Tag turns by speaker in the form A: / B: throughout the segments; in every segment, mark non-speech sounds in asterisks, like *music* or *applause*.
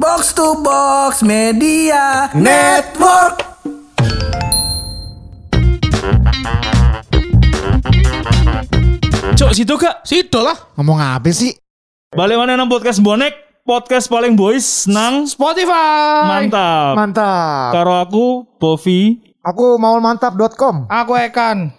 A: Box to Box Media Network.
B: Cok, situ kak.
C: Sido lah.
D: Ngomong apa sih?
B: Balik mana nang podcast bonek? Podcast paling boys nang
C: Spotify.
B: mantap.
D: Mantap.
B: Karo aku Bovi.
D: Aku mau mantap.com.
C: Aku Ekan.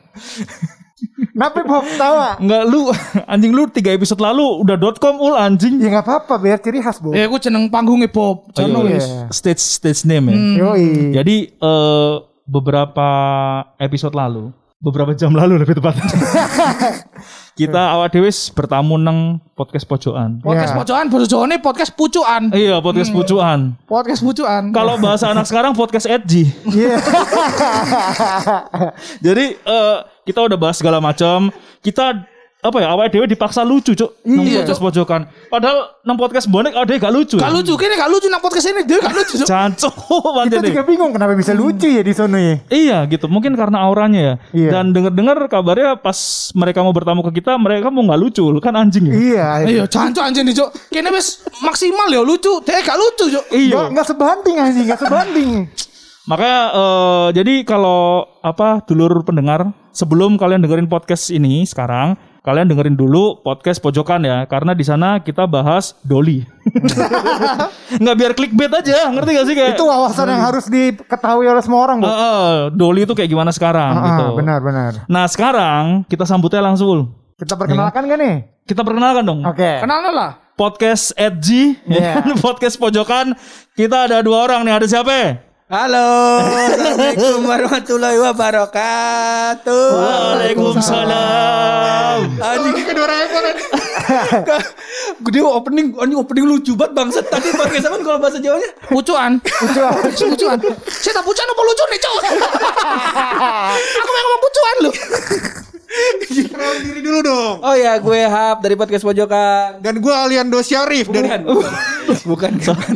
D: Kenapa Bob tawa?
B: Enggak lu *laughs* anjing lu tiga episode lalu udah .com ul anjing.
D: Ya
C: Iya,
D: nggak apa-apa, biar ciri khas Bob.
A: Eh,
C: Ya aku jeneng panggungnya Bob. Jono
B: Ayo,
C: ya.
D: iya.
B: Stage stage name
C: Hmm.
B: ya.
D: Yoi.
B: Jadi eh, beberapa episode lalu, beberapa jam lalu lebih
C: *laughs*
B: tepatnya. kita awak dewis bertamu nang podcast pojokan.
C: Podcast
D: Iya.
C: pojokan, Hmm. pojokannya podcast pucuan.
B: Iya, podcast pojokan.
C: Podcast pucuan.
B: Kalau bahasa anak sekarang podcast edgy.
D: Iya.
B: *laughs* Jadi eh, kita udah bahas segala macam. Kita apa ya awalnya dewe dipaksa lucu cuk nang
C: Iya,
B: podcast
C: Cuk.
B: pojokan padahal nang podcast bonek ada yang gak lucu ya?
C: gak lucu, kini gak lucu nang podcast ini. Dia gak lucu. Cok.
B: *laughs* jancuk
D: Kita juga bingung kenapa bisa lucu ya di sono ya.
B: iya gitu mungkin karena auranya ya
D: Iya.
B: dan denger-dengar kabarnya pas mereka mau bertamu ke kita mereka mau nggak lucu kan anjing ya
D: Iya.
C: Iya, jancuk anjing nih, Cok. Kini wis maksimal ya lucu. Dia gak lucu, Cok.
B: iya
D: Nggak nggak sebanding anjing, nggak sebanding.
B: makanya eh, jadi kalau apa dulur pendengar sebelum kalian dengerin podcast ini sekarang kalian dengerin dulu podcast pojokan ya karena di sana kita bahas Doli *laughs* nggak biar clickbait aja ngerti gak sih kayak
D: Itu wawasan yang harus diketahui oleh semua orang, Bob.
B: Heeh, Doli itu kayak gimana sekarang
D: Ah,
B: Oh, gitu.
D: benar benar.
B: Nah sekarang kita sambutnya langsung. Ul.
D: Kita perkenalkan gak nih?
B: Kita perkenalkan dong.
D: Oke. Iya.
C: Kenal lah.
B: Podcast Edgy, ya kan? *laughs* podcast pojokan. Kita ada dua orang nih. Ada siapa? ya?
A: Halo, assalamualaikum *laughs* warahmatullahi wabarakatuh.
B: Waalaikumsalam.
A: Anjing kedua orang *laughs* Gede opening, anjing opening lucu banget bangset. Tadi pakai sama kalau bahasa Jawanya.
C: Pucuan. Pucuan. pucuan. Saya tak pucuan apa lucu
A: *laughs*
C: nih, Cok? aku yang ngomong pucuan lu.
E: diri dulu dong.
A: Oh ya, gue Hap dari podcast pojokan.
E: Dan gue Aliando Syarif dari
A: Bukan, bukan, bukan.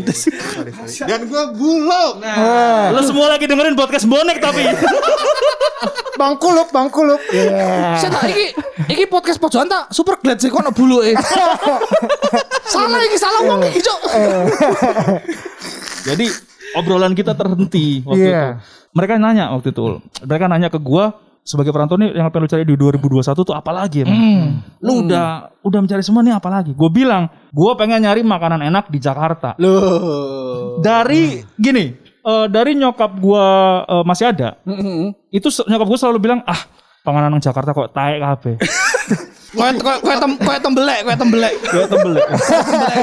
E: dan gue Bulog. Nah,
B: Lo semua lagi dengerin podcast bonek tapi.
D: *laughs* Bang Kuluk, Bang Kuluk. Iya.
C: Saya tak iki iki podcast pojokan tak super glad sih kono bulu eh. salah iki salah wong iki, Cok.
B: Jadi obrolan kita terhenti
D: Iya.
B: waktu itu. Mereka nanya waktu itu. Ul. Mereka nanya ke gua sebagai perantau nih yang pengen lu cari di 2021 tuh apa lagi emang? Hmm. Lu udah udah mencari semua nih apa lagi? Gua bilang, gua pengen nyari makanan enak di Jakarta. Dari gini, eh, dari nyokap gua eh, masih ada.
A: Hmm. *laughs*
B: Itu se- nyokap gua selalu bilang, "Ah, panganan nang Jakarta kok taek kabeh."
C: Kayak kayak kayak tem kayak tembelek, kayak tembelek.
B: Gue
C: *laughs*
B: tembelek. ya.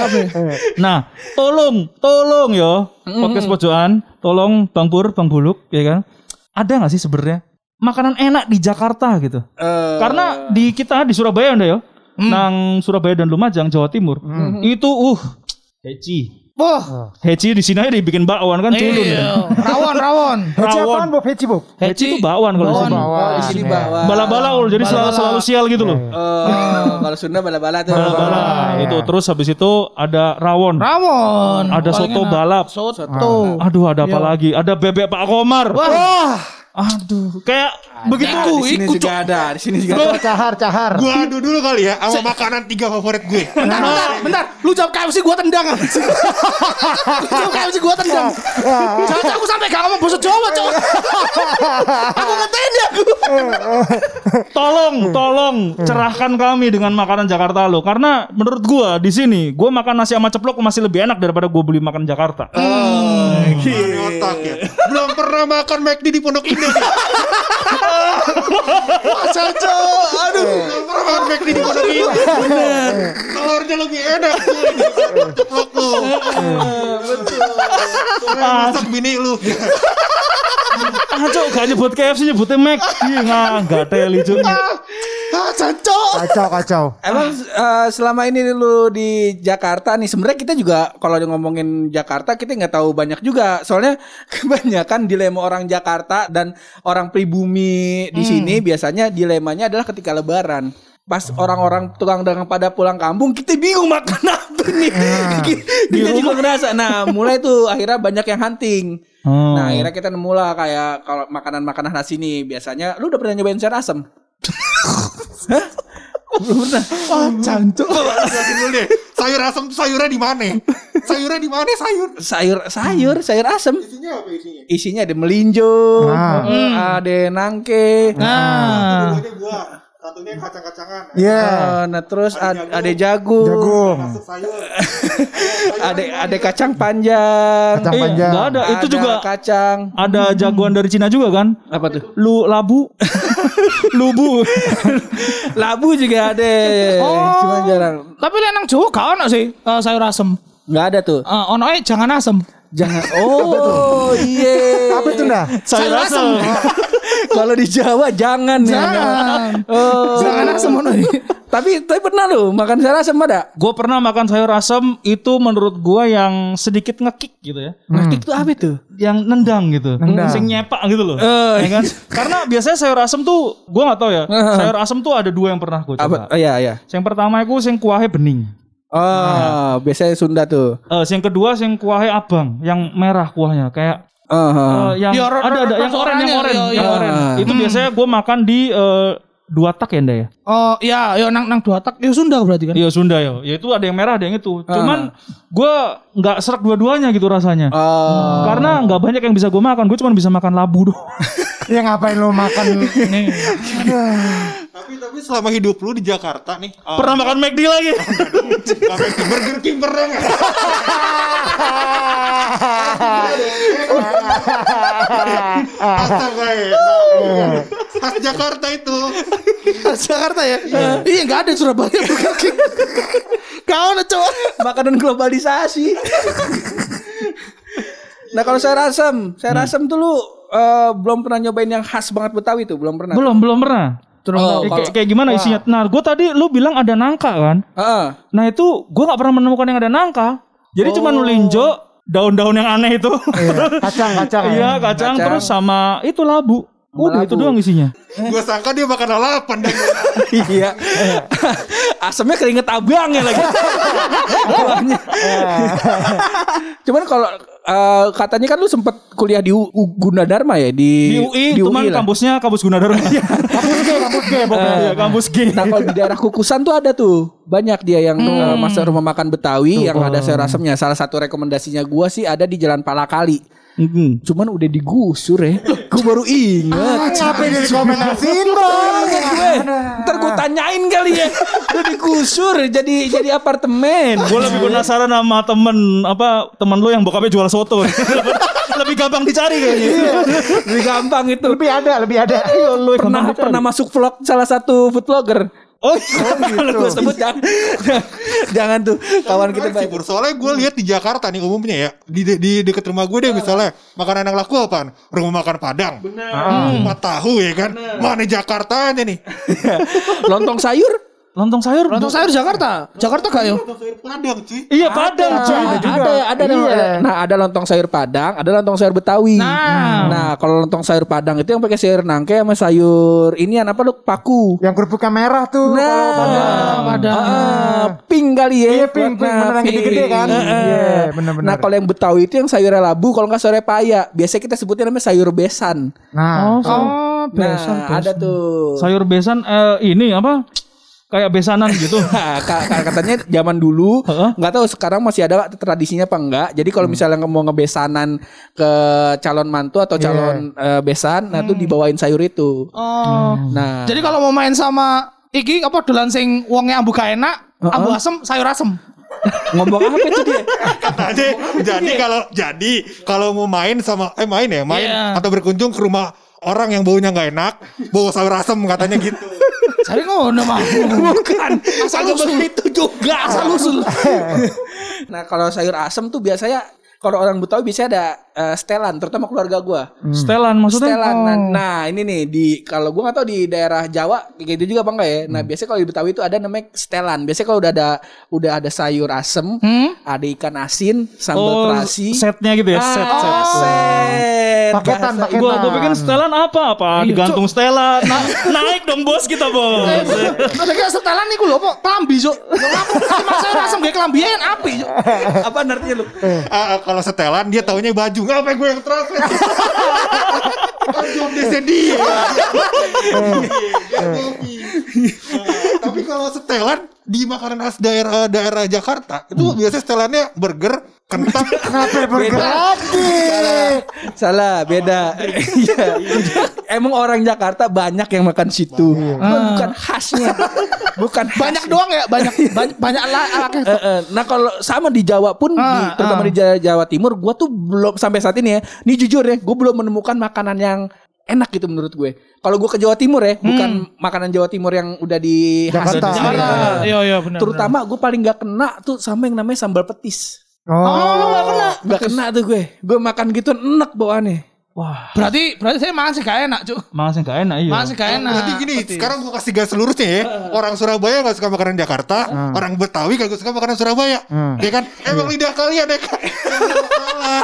B: nah, tolong, tolong yo, podcast pojokan, tolong Bang Pur, Bang Buluk, ya kan? Ada nggak sih sebenarnya makanan enak di Jakarta gitu? Karena di kita di Surabaya udah yo,
C: Mm.
B: nang Surabaya dan Lumajang, Jawa Timur, itu uh heci,
D: Oh,
C: Wah,
B: heci di sini aja dibikin bakwan kan culun. ya.
C: iya. Rawon, rawon.
D: Heci apaan, Bob? Heci, Bob.
B: Heci itu bakwan kalau di
C: Bakwan.
B: sini.
D: Bawah.
A: Oh, Di
D: Iya.
A: bawah.
B: Bala-bala ul, jadi selalu,
C: Bala-bala.
B: selalu sial gitu loh.
A: Eh, kalau Sunda bala-bala tuh.
B: Bala-bala itu terus habis itu ada rawon.
C: Rawon.
B: Ada
C: Paling
B: soto
C: enak.
B: balap.
C: Soto.
B: Aduh ada
C: Iya.
B: apa lagi? Ada bebek Pak Komar. Aduh, kayak
A: Nah,
B: begitu.
C: Iku,
A: Di sini
C: iku,
A: juga
C: Cok.
A: ada, di sini juga. ada.
D: Oh, Cahar, cahar.
E: gue adu dulu kali ya sama makanan tiga favorit gue.
C: Bentar, bentar, bentar. Lu jawab KFC gua tendang. *laughs* ah. Lu jawab KFC gua tendang. Jangan aku sampai gak ngomong bahasa Jawa, Cok. aku ngetain ya aku. Hmm.
B: Tolong, tolong cerahkan kami dengan makanan Jakarta lo. Karena menurut gua di sini gua makan nasi sama ceplok masih lebih enak daripada gua beli makan Jakarta.
E: *laughs*
C: Hmm.
E: Aneh otak ya. Belum pernah makan McD di Pondok *laughs* Indah.
A: Masa, Cok. Aduh.
E: Belum pernah makan McD di Pondok Indah. Bener. Telurnya lebih enak. Ceplok lu. Betul. Masak bini lu.
B: Ah, Cok, gak nyebut KFC nyebutnya Mac.
C: *laughs*
B: Ih, Nggak, nggak teli, Cok.
C: Ah, jancok.
D: Kacau, kacau.
A: Emang eh, selama ini lu di Jakarta nih sebenarnya kita juga kalau ngomongin Jakarta kita nggak tahu banyak juga soalnya *laughs* kebanyakan dilema orang Jakarta dan orang pribumi di sini biasanya dilemanya adalah ketika Lebaran pas orang-orang tukang dagang pada pulang kampung kita bingung makan apa nih *laughs* kita juga ngerasa nah mulai tuh akhirnya banyak yang hunting
B: Hmm.
A: nah akhirnya kita nemu lah kayak kalau makanan-makanan khas ini biasanya lu udah pernah nyobain sayur asem Hah?
D: Oh, jancuk.
E: Jelasin dulu deh. Sayur asem sayurnya di mana? Sayurnya di mana sayur?
A: sayur sayur sayur asem
E: Isinya apa isinya?
A: isinya ada melinjo
D: Nah.
B: Hmm.
A: eh, ada nangke
E: Ah.
D: Nah.
E: Satunya buah, satunya kacang-kacangan.
D: Iya.
A: eh, nah terus ada,
E: Ada
A: ada jagung,
D: Jagung.
E: Masuk sayur.
A: *laughs* ada ada kacang panjang
D: Kacang panjang.
B: Iya, nggak ada. Itu juga
C: kan.
A: kacang
B: ada jagoan dari Cina juga kan?
A: apa tuh
B: Lu
C: *laughs*
B: labu, lubu.
A: labu juga ada
C: Oh.
A: cuma jarang
C: Tapi lek nang Jawa gak ono sih eh, sayur asem.
A: nggak ada tuh
C: Eh, ono eh jangan asem.
A: jangan oh iya
D: Apa itu nah?
C: Sayur asem.
A: *laughs* kalau di Jawa jangan ya oh
C: Jangan asem ya. ono.
A: tapi tapi pernah lo makan sayur asem ada
B: Gue pernah makan sayur asem itu menurut gue yang sedikit ngekik gitu ya.
A: ngetik tuh apa tuh
B: yang nendang gitu,
D: Nendang.
B: sing nyepak gitu loh,
A: Eh.
B: Ya kan? Karena biasanya sayur asem tuh, gue nggak tahu ya. Sayur asem tuh ada dua yang pernah gue
A: apa
B: coba.
A: oh iya iya
B: Yang pertama itu sing kuahnya bening,
A: oh biasanya Sunda tuh
B: Eh, yang kedua sing kuahnya abang, yang merah kuahnya kayak
A: Ah, ah.
B: eh, yang
C: Ya, ro-
B: ada ada
C: ro-
B: yang
C: ro-
B: oren yang
C: oranye,
B: oren,
C: iya,
B: yang
A: iya.
B: oren.
A: Ah.
B: Itu biasanya gue makan di eh, dua tak ya Nda ya.
C: Oh iya, yo nang nang dua tak yo Sunda berarti kan.
B: Iya Sunda ya. Ya itu ada yang merah ada yang itu. Cuman gue nggak serak dua-duanya gitu rasanya.
A: Oh.
B: Karena nggak banyak yang bisa gue makan, gue cuma bisa makan labu doang.
D: Ya ngapain lu makan?
E: Tapi tapi selama hidup lu di Jakarta nih, eh,
B: *laughs* Pernah makan McD lagi?
E: Sampai ke Burger King pernah
A: *laughs*
E: nggak? Astaga ya. Khas Jakarta itu.
C: *laughs* Jakarta ya. Iya enggak ada di
A: *laughs*
C: Surabaya Burger King. Gak ono cowok.
A: makanan globalisasi. nah kalau saya rasem, saya rasem tuh lu eh, belum pernah nyobain yang khas banget Betawi tuh, belum pernah.
B: *laughs* belum belum pernah.
A: Oh, kalau-
B: Eh, kayak, kayak gimana isinya? Nah, gue tadi lu bilang ada nangka kan?
A: Heeh.
B: Nah itu gue nggak pernah menemukan yang ada nangka. Jadi cuma melinjo, daun-daun yang aneh itu.
D: Kacang-kacang.
B: Iya
A: Kacang.
B: kacang, terus sama itu labu. Udah itu
A: labu.
B: doang isinya.
E: Gue sangka dia makan lalapan dan
A: iya. Asamnya keringet abang ya lagi. Buahnya. Cuman kalau eh, katanya kan lu sempet kuliah di U- U- Gunadarma ya di
B: Di UI, cuman
A: lah.
B: kampusnya kampus Gunadarma. Iya,
D: Kampus G, kampus G, pokoknya.
B: Iya, kampus G.
A: Nah kalau di daerah Kukusan tuh ada tuh banyak dia yang eh, masak rumah makan Betawi yang ada sayur asemnya. Salah satu rekomendasinya gua sih ada di Jalan Palakali.
B: Mm-mm.
A: Cuman udah digusur ya. Gue baru ingat.
D: Ngapain direkomendasiin, Bang?
A: Gue, ntar gue tanyain kali ya. Udah digusur jadi jadi apartemen.
B: Gue lebih penasaran sama temen apa temen lu yang bokapnya jual soto. *laughs* lebih gampang dicari
C: Iya.
B: kayaknya.
A: Lebih gampang itu. Iya.
D: Lebih ada, lebih ada. Ayo lu.
A: Pernah pernah masuk vlog salah satu food vlogger.
B: Oh, iya.
A: Kalau gue sebut jangan, jangan tuh kawan kita baik.
E: Cibur. Soalnya gue lihat di Jakarta nih umumnya ya di de- di deket rumah gue deh misalnya makanan yang laku apaan? Rumah makan Padang. Benar. tahu ya kan? Mana Jakarta aja nih?
A: Lontong sayur?
B: lontong sayur.
C: Lontong sayur Jakarta. Jakarta gak yo?
E: Padang cuy.
B: Iya Padang cuy.
A: Nah, ada ada ada- nah ada lontong sayur Padang, ada lontong sayur Betawi.
C: Nah.
A: Nah, kalau lontong sayur Padang itu yang pakai sayur nangke sama sayur ini apa lu paku.
D: Yang kerupuknya merah tuh.
A: Nah,
D: Padang.
A: Padang. Ah, pink kali ya.
D: Iya, pink, pink.
A: warna
D: Bener, yang gede-gede kan?
A: Iya,
D: Iya, bener-bener.
A: Nah, kalau yang Betawi itu yang sayurnya labu, kalau nggak sayurnya paya. Biasanya kita sebutnya namanya sayur besan.
D: Nah,
C: Oh,
A: Nah, ada tuh.
B: sayur besan eh, ini apa kayak besanan gitu
A: Nah, *laughs* ka- ka- katanya zaman dulu
B: Heeh.
A: nggak tahu sekarang masih ada tradisinya apa enggak. Jadi
D: Hmm.
A: kalau misalnya mau ngebesanan ke calon mantu
D: Iya.
A: atau calon eh, besan, nah tuh
D: Hmm.
A: dibawain sayur itu.
C: Oh.
A: Nah,
D: *laughs*
C: Jadi kalau mau main sama iki apa dolan sing wongnya ambu gak enak, ambu asem, sayur asem.
A: ngomong apa itu dia?
E: Katanya jadi kalau jadi kalau mau main sama eh main ya main
C: Iya.
E: atau berkunjung ke rumah orang yang baunya nggak enak bau sayur asem katanya gitu
C: Cari ngono mah.
A: Bukan.
C: Asal usul.
A: begitu juga.
C: Asal usul.
A: Nah, kalau sayur asem tuh biasanya kalau orang Betawi biasanya ada eh, stelan, terutama keluarga gua.
C: Hmm.
B: stelan maksudnya
A: Stelan.
B: Oh.
A: Nah, nah, ini nih di kalau gua nggak tahu di daerah Jawa kayak gitu juga apa enggak ya.
B: Hmm.
A: Nah, biasanya kalau di Betawi itu ada namanya stelan. Biasanya kalau udah ada udah ada sayur asem,
C: Hmm?
A: ada ikan asin, sambal
B: oh
A: terasi.
B: setnya gitu ya set set
A: Ah, set.
D: Paketan,
A: Bahasa-
D: paketan.
B: Gua, gua pikir stelan apa apa
C: Iya,
B: digantung stelan Na- naik dong bos kita bos
A: Iya,
C: Terus kayak setelan niku lho apa klambi cuk. Yo aku cuma sayur asem gak klambi en api cuk.
B: eh.
A: *laughs* Apa artinya lu?
E: Ah, ah, kalau setelan dia taunya baju ngapain gue yang translate Kan job desknya dia Dia joki. Ah, tapi kalau setelan di makanan khas daerah daerah Jakarta itu biasanya setelannya burger, kentang,
D: Kenapa burger lagi?
A: Salah, beda.
B: Oh.
A: *laughs* Iya. Emang orang Jakarta banyak yang makan situ. Cuma Bukan khasnya.
B: Ah.
A: Bukan
C: Banyak
A: khasnya.
C: doang ya, banyak banyak, banyak ala ala
A: Eh, eh, nah kalau sama di Jawa pun di,
B: Ah,
A: terutama
B: ah.
A: di Jawa, Jawa Timur gue tuh belum sampai saat ini ya ini jujur ya gue belum menemukan makanan yang enak gitu menurut gue kalau gue ke Jawa Timur ya bukan makanan Jawa Timur yang udah di
D: Jakarta.
A: khas-
D: Jakarta.
A: Iya.
B: Iya iya benar.
A: terutama gue paling gak kena tuh sama yang namanya sambal petis
D: Oh,
A: gak kena gak kena tuh gue gue makan gitu enak bawaannya
B: wah,
C: Berarti berarti saya makan sih gak enak, Cuk.
B: masih gak enak iya.
C: Makan sih gak
A: Nah,
C: enak.
E: Kan Berarti gini, sekarang gua kasih garis lurusnya ya. Orang Surabaya gak suka makanan Jakarta, orang Betawi kagak suka makanan Surabaya. Ya kan?
A: Iya.
E: Emang lidah kalian ya
A: *laughs*
E: kan? Salah.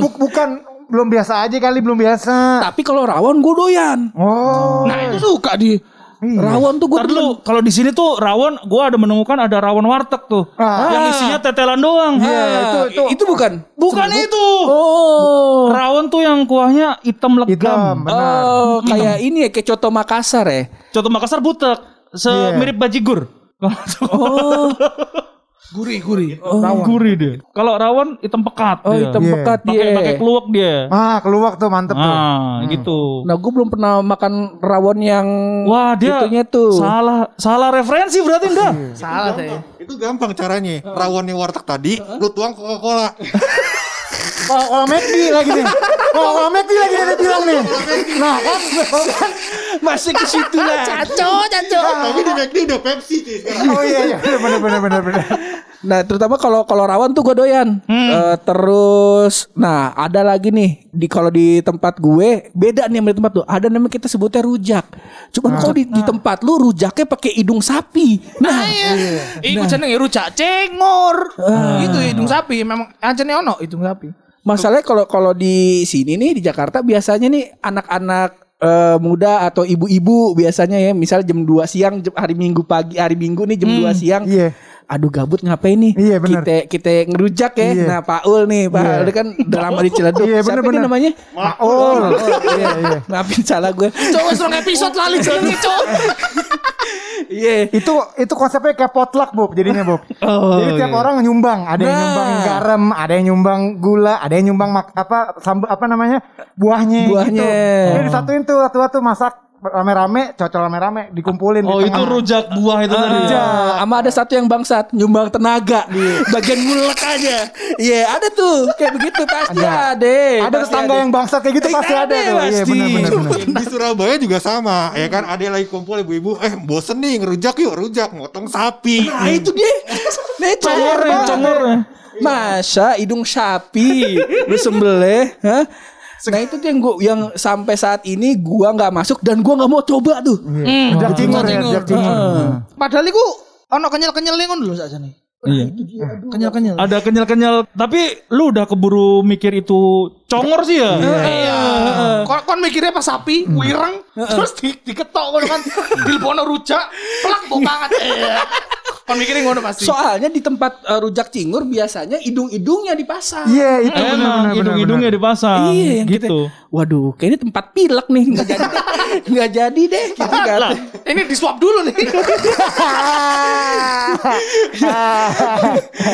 D: bu- bukan belum biasa aja kali, belum biasa.
A: tapi kalau rawon gue doyan
D: Oh, Iya.
C: Nah, itu suka di
A: rawon tuh gue
B: Ntar dulu, kalau di sini tuh rawon, gua ada menemukan ada rawon warteg tuh,
D: Ah.
B: yang isinya tetelan doang.
A: itu, Ah, itu bukan
B: Iya, Bukan itu.
A: oh
B: Rawon tuh yang kuahnya hitam
D: hitam,
B: legam.
D: benar.
A: Oh, kayak ini ya, kayak coto Makassar ya.
B: Contoh Makassar butek,
D: Iya.
B: semirip bajigur. *laughs*
A: Oh,
C: gurih-gurih.
B: Gurih dia. Kalau rawon hitam pekat.
A: oh
B: dia.
A: hitam
D: Iya.
A: pekat
B: Pakai
A: dia.
B: pakai keluak dia.
D: Ah, keluak tuh mantep tuh.
B: Ah, gitu.
A: Nah, gue belum pernah makan rawon yang
B: Wah, dia
A: itunya tuh. Iya.
B: salah salah referensi berarti enggak.
C: Salah saya.
E: Itu gampang caranya. Rawannya warteg tadi, lu tuang Coca-Cola.
D: Kalau kalau McD lagi nih. Kalau kalau McD lagi Oh, nih dia bilang nih. Nah, kan kan.
A: *laughs* Masih ke situ lah.
E: Tapi di McD udah Pepsi sih sekarang.
D: Oh iya iya, benar benar benar benar.
A: Nah, terutama kalau kalau rawon tuh gue doyan. Eh, terus, nah ada lagi nih di kalau di tempat gue beda nih sama di tempat tuh. Ada namanya kita sebutnya rujak. Cuman kalau di, di tempat lu rujaknya pakai hidung sapi.
C: Nah, iya. Iku jenenge rujak cengor. Itu hidung sapi, memang ajene ono hidung sapi.
A: Masalahnya kalau kalau di sini nih di Jakarta biasanya nih anak-anak eh, muda atau ibu-ibu biasanya ya misal jam 2 siang jam- hari Minggu pagi hari Minggu nih jam 2 siang.
D: Iya.
A: Aduh gabut ngapain nih?
D: Iya, benar.
A: Kita kita ngerujak ya.
D: Iya.
A: Nah, Paul nih, Pak
D: Iya.
A: Ul kan udah lama di Ciledug.
D: Iya,
A: Siapa
D: benar-benar.
A: ini namanya?
D: Maul. Iya iya.
A: *laughs* Maafin salah gue.
C: Cuk, wis rong episode lali jenenge, Cuk.
A: Iya.
D: Itu itu konsepnya kayak potluck Bob jadinya Bob. Jadi tiap orang nyumbang, ada yang
A: Nah.
D: nyumbang garam, ada yang nyumbang gula, ada yang nyumbang mak- apa sambal apa namanya? buahnya
A: Buahnya.
D: gitu. Jadi disatuin tuh satu-satu masak rame-rame, cocol rame-rame, dikumpulin
B: Oh,
D: di
B: itu
D: tengah.
B: rujak buah itu tadi.
D: Iya.
A: Nah, sama ada satu yang bangsat nyumbang tenaga bagian ngulek aja. Iya, ada tuh kayak begitu pasti ada.
D: Ada
A: Pasti
D: tetangga yang bangsat kayak gitu pasti ada tuh. Iya,
A: pasti.
D: benar benar benar.
E: Di
A: Nah.
E: Surabaya juga sama, ya kan? Ada yang lagi kumpul ibu-ibu, eh bosen nih ngerujak yuk, rujak, motong sapi.
A: Nah itu dia. Nah itu
B: Congor,
A: dia.
B: congor.
A: Masa hidung sapi lu sembelih, hah? Nah itu tuh yang gua yang sampai saat ini gua nggak masuk dan gua nggak mau coba tuh.
D: Jak cingur ya,
C: Cingur.
D: jak cingur.
A: Heeh.
C: Hmm. Padahal iku ono kenyal-kenyal ngono lho sakjane.
B: Iya.
C: Kenyal-kenyal.
B: Ada kenyal-kenyal, tapi lu udah keburu mikir itu congor sih ya.
C: Iya. Kon, kon mikirnya pas sapi, wireng, terus di, diketok ngono *laughs* kan, dilbono rujak, plak bau banget. *laughs* Iya. Kon mikirnya ngono pasti.
A: Soalnya di tempat eh, rujak cingur biasanya hidung-hidungnya dipasang.
D: Iya, itu benar benar
B: Enak,
D: benar.
B: hidung-hidungnya dipasang.
A: Iya yang gitu.
B: gitu.
A: Waduh, kayaknya tempat pilek nih nggak jadi
D: *laughs*
A: deh. nggak jadi deh. Gitu, kan.
C: Lah, ini di swab dulu nih.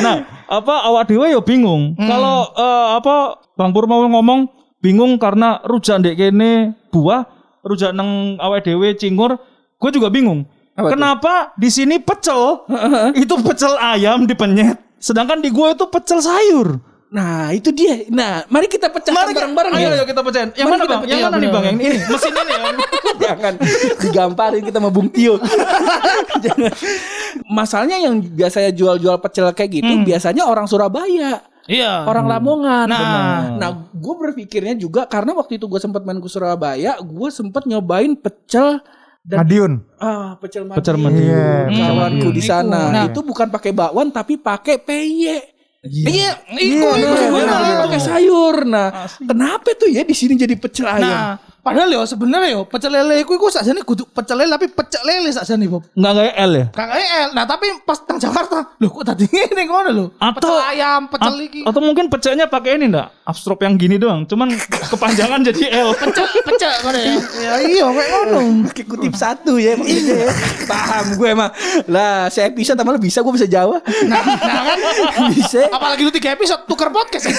B: Nah, apa awak dewa ya bingung. Kalau eh, apa Bang Pur mau ngomong bingung karena rujak ndek kene buah, rujak neng awak dewe cingur, gue juga bingung.
A: Apa tuh?
B: Kenapa di sini *laughs* pecel? itu pecel ayam dipenyet, sedangkan di gue itu pecel sayur.
A: Nah itu dia. Nah mari kita pecahkan
B: Mari kita-
A: bareng-bareng
B: ayo,
A: ya.
B: ayo kita pecahin. Yang
A: Mari
B: mana
A: kita
B: bang? Yang
A: pecahin,
B: mana nih bang? Yang
A: bener-bener.
B: ini mesin ini ya.
A: Jangan digamparin kita sama Bung Tio. Jangan. *laughs* Masalahnya yang biasanya jual-jual pecel kayak gitu biasanya orang Surabaya.
B: Iya.
A: Orang Lamongan.
B: Nah.
A: nah gue berpikirnya juga karena waktu itu gue sempat main ke Surabaya, gue sempat nyobain pecel dan
D: Madiun.
A: ah pecel madu.
B: Pecel madu.
D: Iya, pecel
A: kawanku
B: madu.
A: di sana.
C: Nah.
A: itu bukan pakai bakwan tapi pakai peye.
C: Iya, iku
A: Nah,
C: iku
A: bener,
C: gimana?
A: pakai sayur. Nah, kenapa tuh ya di sini jadi pecel ayam?
B: Nah,
C: Padahal yo sebenarnya yo pecel lele iku iku sakjane kudu pecel lele tapi pecel lele sakjane, Bob.
B: Enggak kayak L ya?
C: Kang El. Nah, tapi pas teng Jakarta, lho kok tadi *laughs* ngene ngono lho.
B: Atau-
C: Pecel ayam, pecel
B: A-
C: iki.
B: Atau mungkin pecahnya pakai ini enggak? Abstrop yang gini doang, cuman kepanjangan *laughs* jadi L.
C: Pecel, pecel ngono ya. Ya iya
A: *laughs*
C: kayak ngono.
A: Pakai kutip satu ya maksudnya ya. Paham gue emang. Lah, saya bisa tambah lu bisa gue bisa Jawa.
C: Nah, nah kan.
A: *laughs* Bisa.
C: Apalagi lu 3 episode tuker podcast.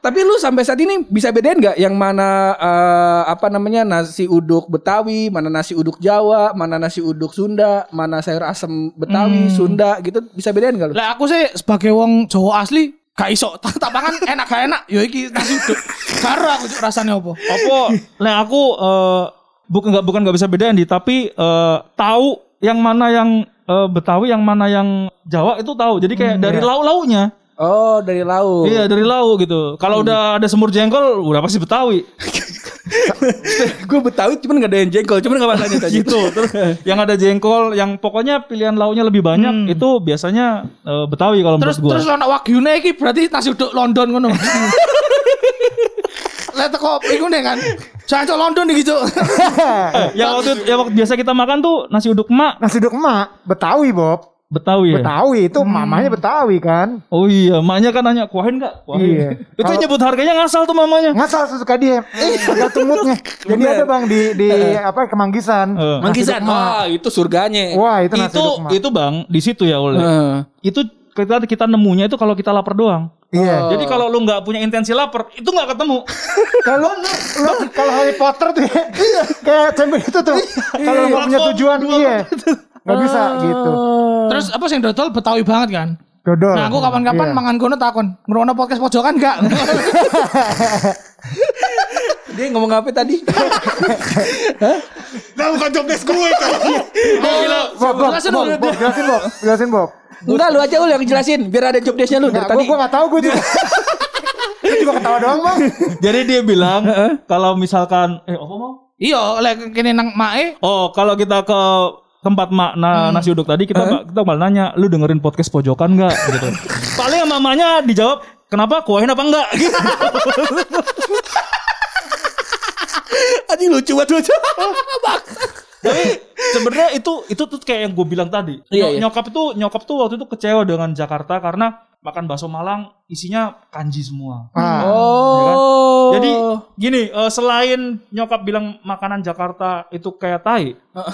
A: Tapi lu sampai saat ini bisa bedain nggak yang mana eh, apa namanya nasi uduk Betawi, mana nasi uduk Jawa, mana nasi uduk Sunda, mana sayur asem Betawi, Sunda gitu bisa bedain nggak lu?
C: Lah aku sih sebagai wong Jawa asli gak iso tak tak pangan enak gak enak ya iki nasi uduk. Karo aku cuk rasane opo?
B: Apa? Nah aku eh, bukan nggak bukan nggak bisa bedain di, tapi eh, tahu yang mana yang eh, Betawi, yang mana yang Jawa itu tahu. Jadi kayak dari lau launya,
A: Oh, dari lauk. *laughs*
B: iya dari lau gitu. Kalau udah ada semur jengkol, udah pasti Betawi.
A: gue Betawi cuman nggak ada yang jengkol, cuman nggak masalahnya tadi.
B: gitu. Terus yang ada jengkol, yang pokoknya pilihan launya lebih banyak itu biasanya eh, Betawi kalau
C: Terus
B: menurut gua.
C: terus lo nak wagyune iki berarti nasi uduk London ngono. Lah teko iku nih kan. Jangan cok London iki cok.
B: Eh, yang waktu yang waktu biasa kita makan tuh nasi uduk mak
D: *laughs* Nasi uduk emak Betawi Bob.
B: Betawi. ya?
D: Betawi itu mamanya Betawi kan.
B: Oh iya, maknya kan nanya kuahin nggak? Kuahin.
D: Iya.
B: *laughs* Itu
D: Kalau-
B: nyebut harganya ngasal tuh mamanya.
D: Ngasal suka dia. Eh, tergantung moodnya. Jadi
A: Bener.
D: ada Bang di di apa Kemanggisan.
B: Eh.
A: Mangkisan. Wah, "Ah, itu surganya. Nah.
D: Wah, itu nasi
B: Itu
D: uduk Eh. emak.
B: itu bang di situ ya oleh.
A: Heeh.
B: Itu kita kita nemunya itu kalau kita lapar doang.
D: Iya.
B: Jadi kalau lu nggak punya intensi lapar, itu nggak ketemu.
D: *laughs* Kalau lu, lu kalau Harry Potter tuh ya, kayak champion itu tuh. Kalau nggak punya
B: Platform
D: tujuan
B: dua
D: iya. Nggak bisa gitu.
C: Terus apa sing dodol Betawi banget kan.
D: Dodol.
C: Nah aku kapan-kapan
D: Iya.
C: mangan kono takon. Ngrono podcast pojokan gak?
A: Dia ngomong apa tadi?
E: Nah bukan job desk gue kan.
A: Iya.
D: Bob, Bob,
C: Jelasin
D: Bob,
C: dulu.
D: Bob, jelasin Bob, jelasin Bob.
A: Enggak lu aja lu yang jelasin biar ada job desknya lu dari
D: Nggak, gua
A: tadi.
D: gua nggak tahu gua juga. Gua juga ketawa doang bang.
B: *laughs* Jadi dia bilang
D: Eh,
B: kalau misalkan eh apa mau?
C: Iya, lek kene nang e. mae
B: Oh, kalau kita ke tempat
D: Hmm.
B: makna nasi uduk tadi
D: Eh,
B: kita kita malah nanya, lu dengerin podcast pojokan nggak?
D: *laughs*
B: gitu. Paling yang mamanya dijawab, kenapa kuahin apa enggak? *laughs* Gitu.
A: Anjing lucu banget lucu.
B: Tapi sebenarnya itu itu tuh kayak yang gue bilang tadi.
A: Iya,
B: Nyok-
A: iya.
B: Nyokap itu nyokap tuh waktu itu kecewa dengan Jakarta karena makan bakso Malang isinya kanji semua.
D: Ah,
A: Oh.
B: Jadi gini, eh, selain nyokap bilang makanan Jakarta itu kayak tai,
A: Oh.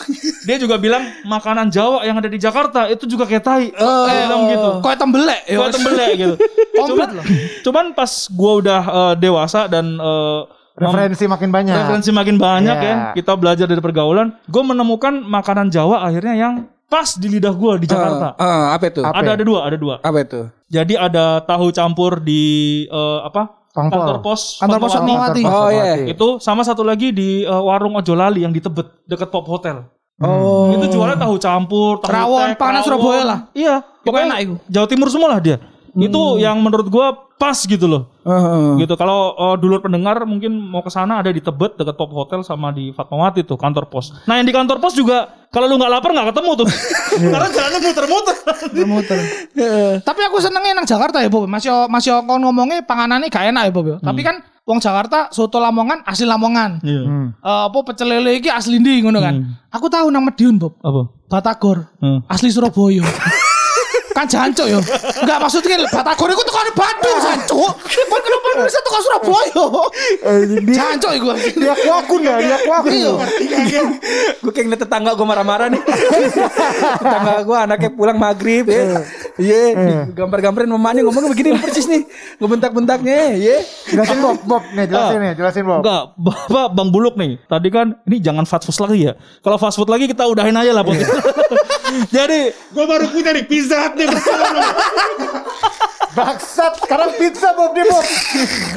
B: dia juga bilang makanan Jawa yang ada di Jakarta itu juga kayak tai.
A: Oh.
C: eh,
B: Dia bilang gitu.
C: Koyo tembelek
A: ya?
B: Gua tembelek
A: *laughs*
B: gitu.
C: Komplit
B: Cuman,
C: loh.
B: cuman pas gua udah eh, dewasa dan eh, mem-
D: referensi makin
C: Nah.
D: banyak.
B: referensi makin banyak
D: Iya.
B: ya. Kita belajar dari pergaulan. Gue menemukan makanan Jawa akhirnya yang pas di lidah gue di Jakarta.
A: Eh, apa itu?
D: Apa?
C: ya?
D: ya?
B: ada ada dua, ada dua.
A: Apa itu?
B: Jadi ada tahu campur di eh, apa?
D: Tongpol.
B: Kantor pos.
C: Kantor pos
B: Fatmawati.
C: Fatmawati.
A: Oh, iya.
D: Hmm.
B: Itu sama satu lagi di eh, warung Ojolali yang di Tebet dekat Pop Hotel.
A: Oh.
B: Itu jualnya tahu campur, tahu
C: Rawon,
B: tek,
C: panas
B: rawon.
C: Surabaya lah.
B: Iya, pokoknya
C: enak itu.
B: Jawa Timur semua lah dia.
C: Hmm.
B: Itu yang menurut gua pas gitu loh.
A: Heeh.
B: Gitu. Kalau eh, dulur pendengar mungkin mau ke sana ada di Tebet dekat Pop Hotel sama di Fatmawati tuh kantor pos. Nah, yang di kantor pos juga kalau lu nggak lapar nggak ketemu tuh. Iya. Karena jalannya muter-muter.
C: Tapi aku senengnya nang Jakarta ya Bob. Masih masih kon ngomongnya panganannya gak enak ya Bob. ya. Tapi kan wong Jakarta soto Lamongan asli Lamongan.
B: Iya.
D: Hmm.
C: Eh, apa pecel lele iki asli ndi ngono kan. Aku tahu nang Madiun Bob.
B: Apa?
C: Batagor.
B: Hmm.
C: Asli Surabaya. kan jancuk yo. Enggak maksudnya Batagor iku tekone Bandung jancuk. Kon kenapa bisa teko Surabaya?
D: Eh, dia
C: Jancuk iku.
D: dia kuakun ya, dia kuakun.
C: Iya.
A: gue kayak ngeliat tetangga gue marah-marah
B: *laughs*
A: nih tetangga gue anaknya pulang maghrib
B: Eh.
A: ya iya gambar-gambarin mamanya ngomongnya begini persis nih ngebentak-bentaknya ya
D: Jelasin Bob, Bob, nih jelasin nih, jelasin Bob.
B: Enggak, Ah. *laughs* Bapak Bang Buluk nih. Tadi kan ini jangan fast food lagi ya. Kalau fast food lagi kita udahin aja lah podcast. *laughs* Jadi
E: Gue baru punya nih pizza Hut nih bersama.
D: Baksat, sekarang pizza Bob dia Bob.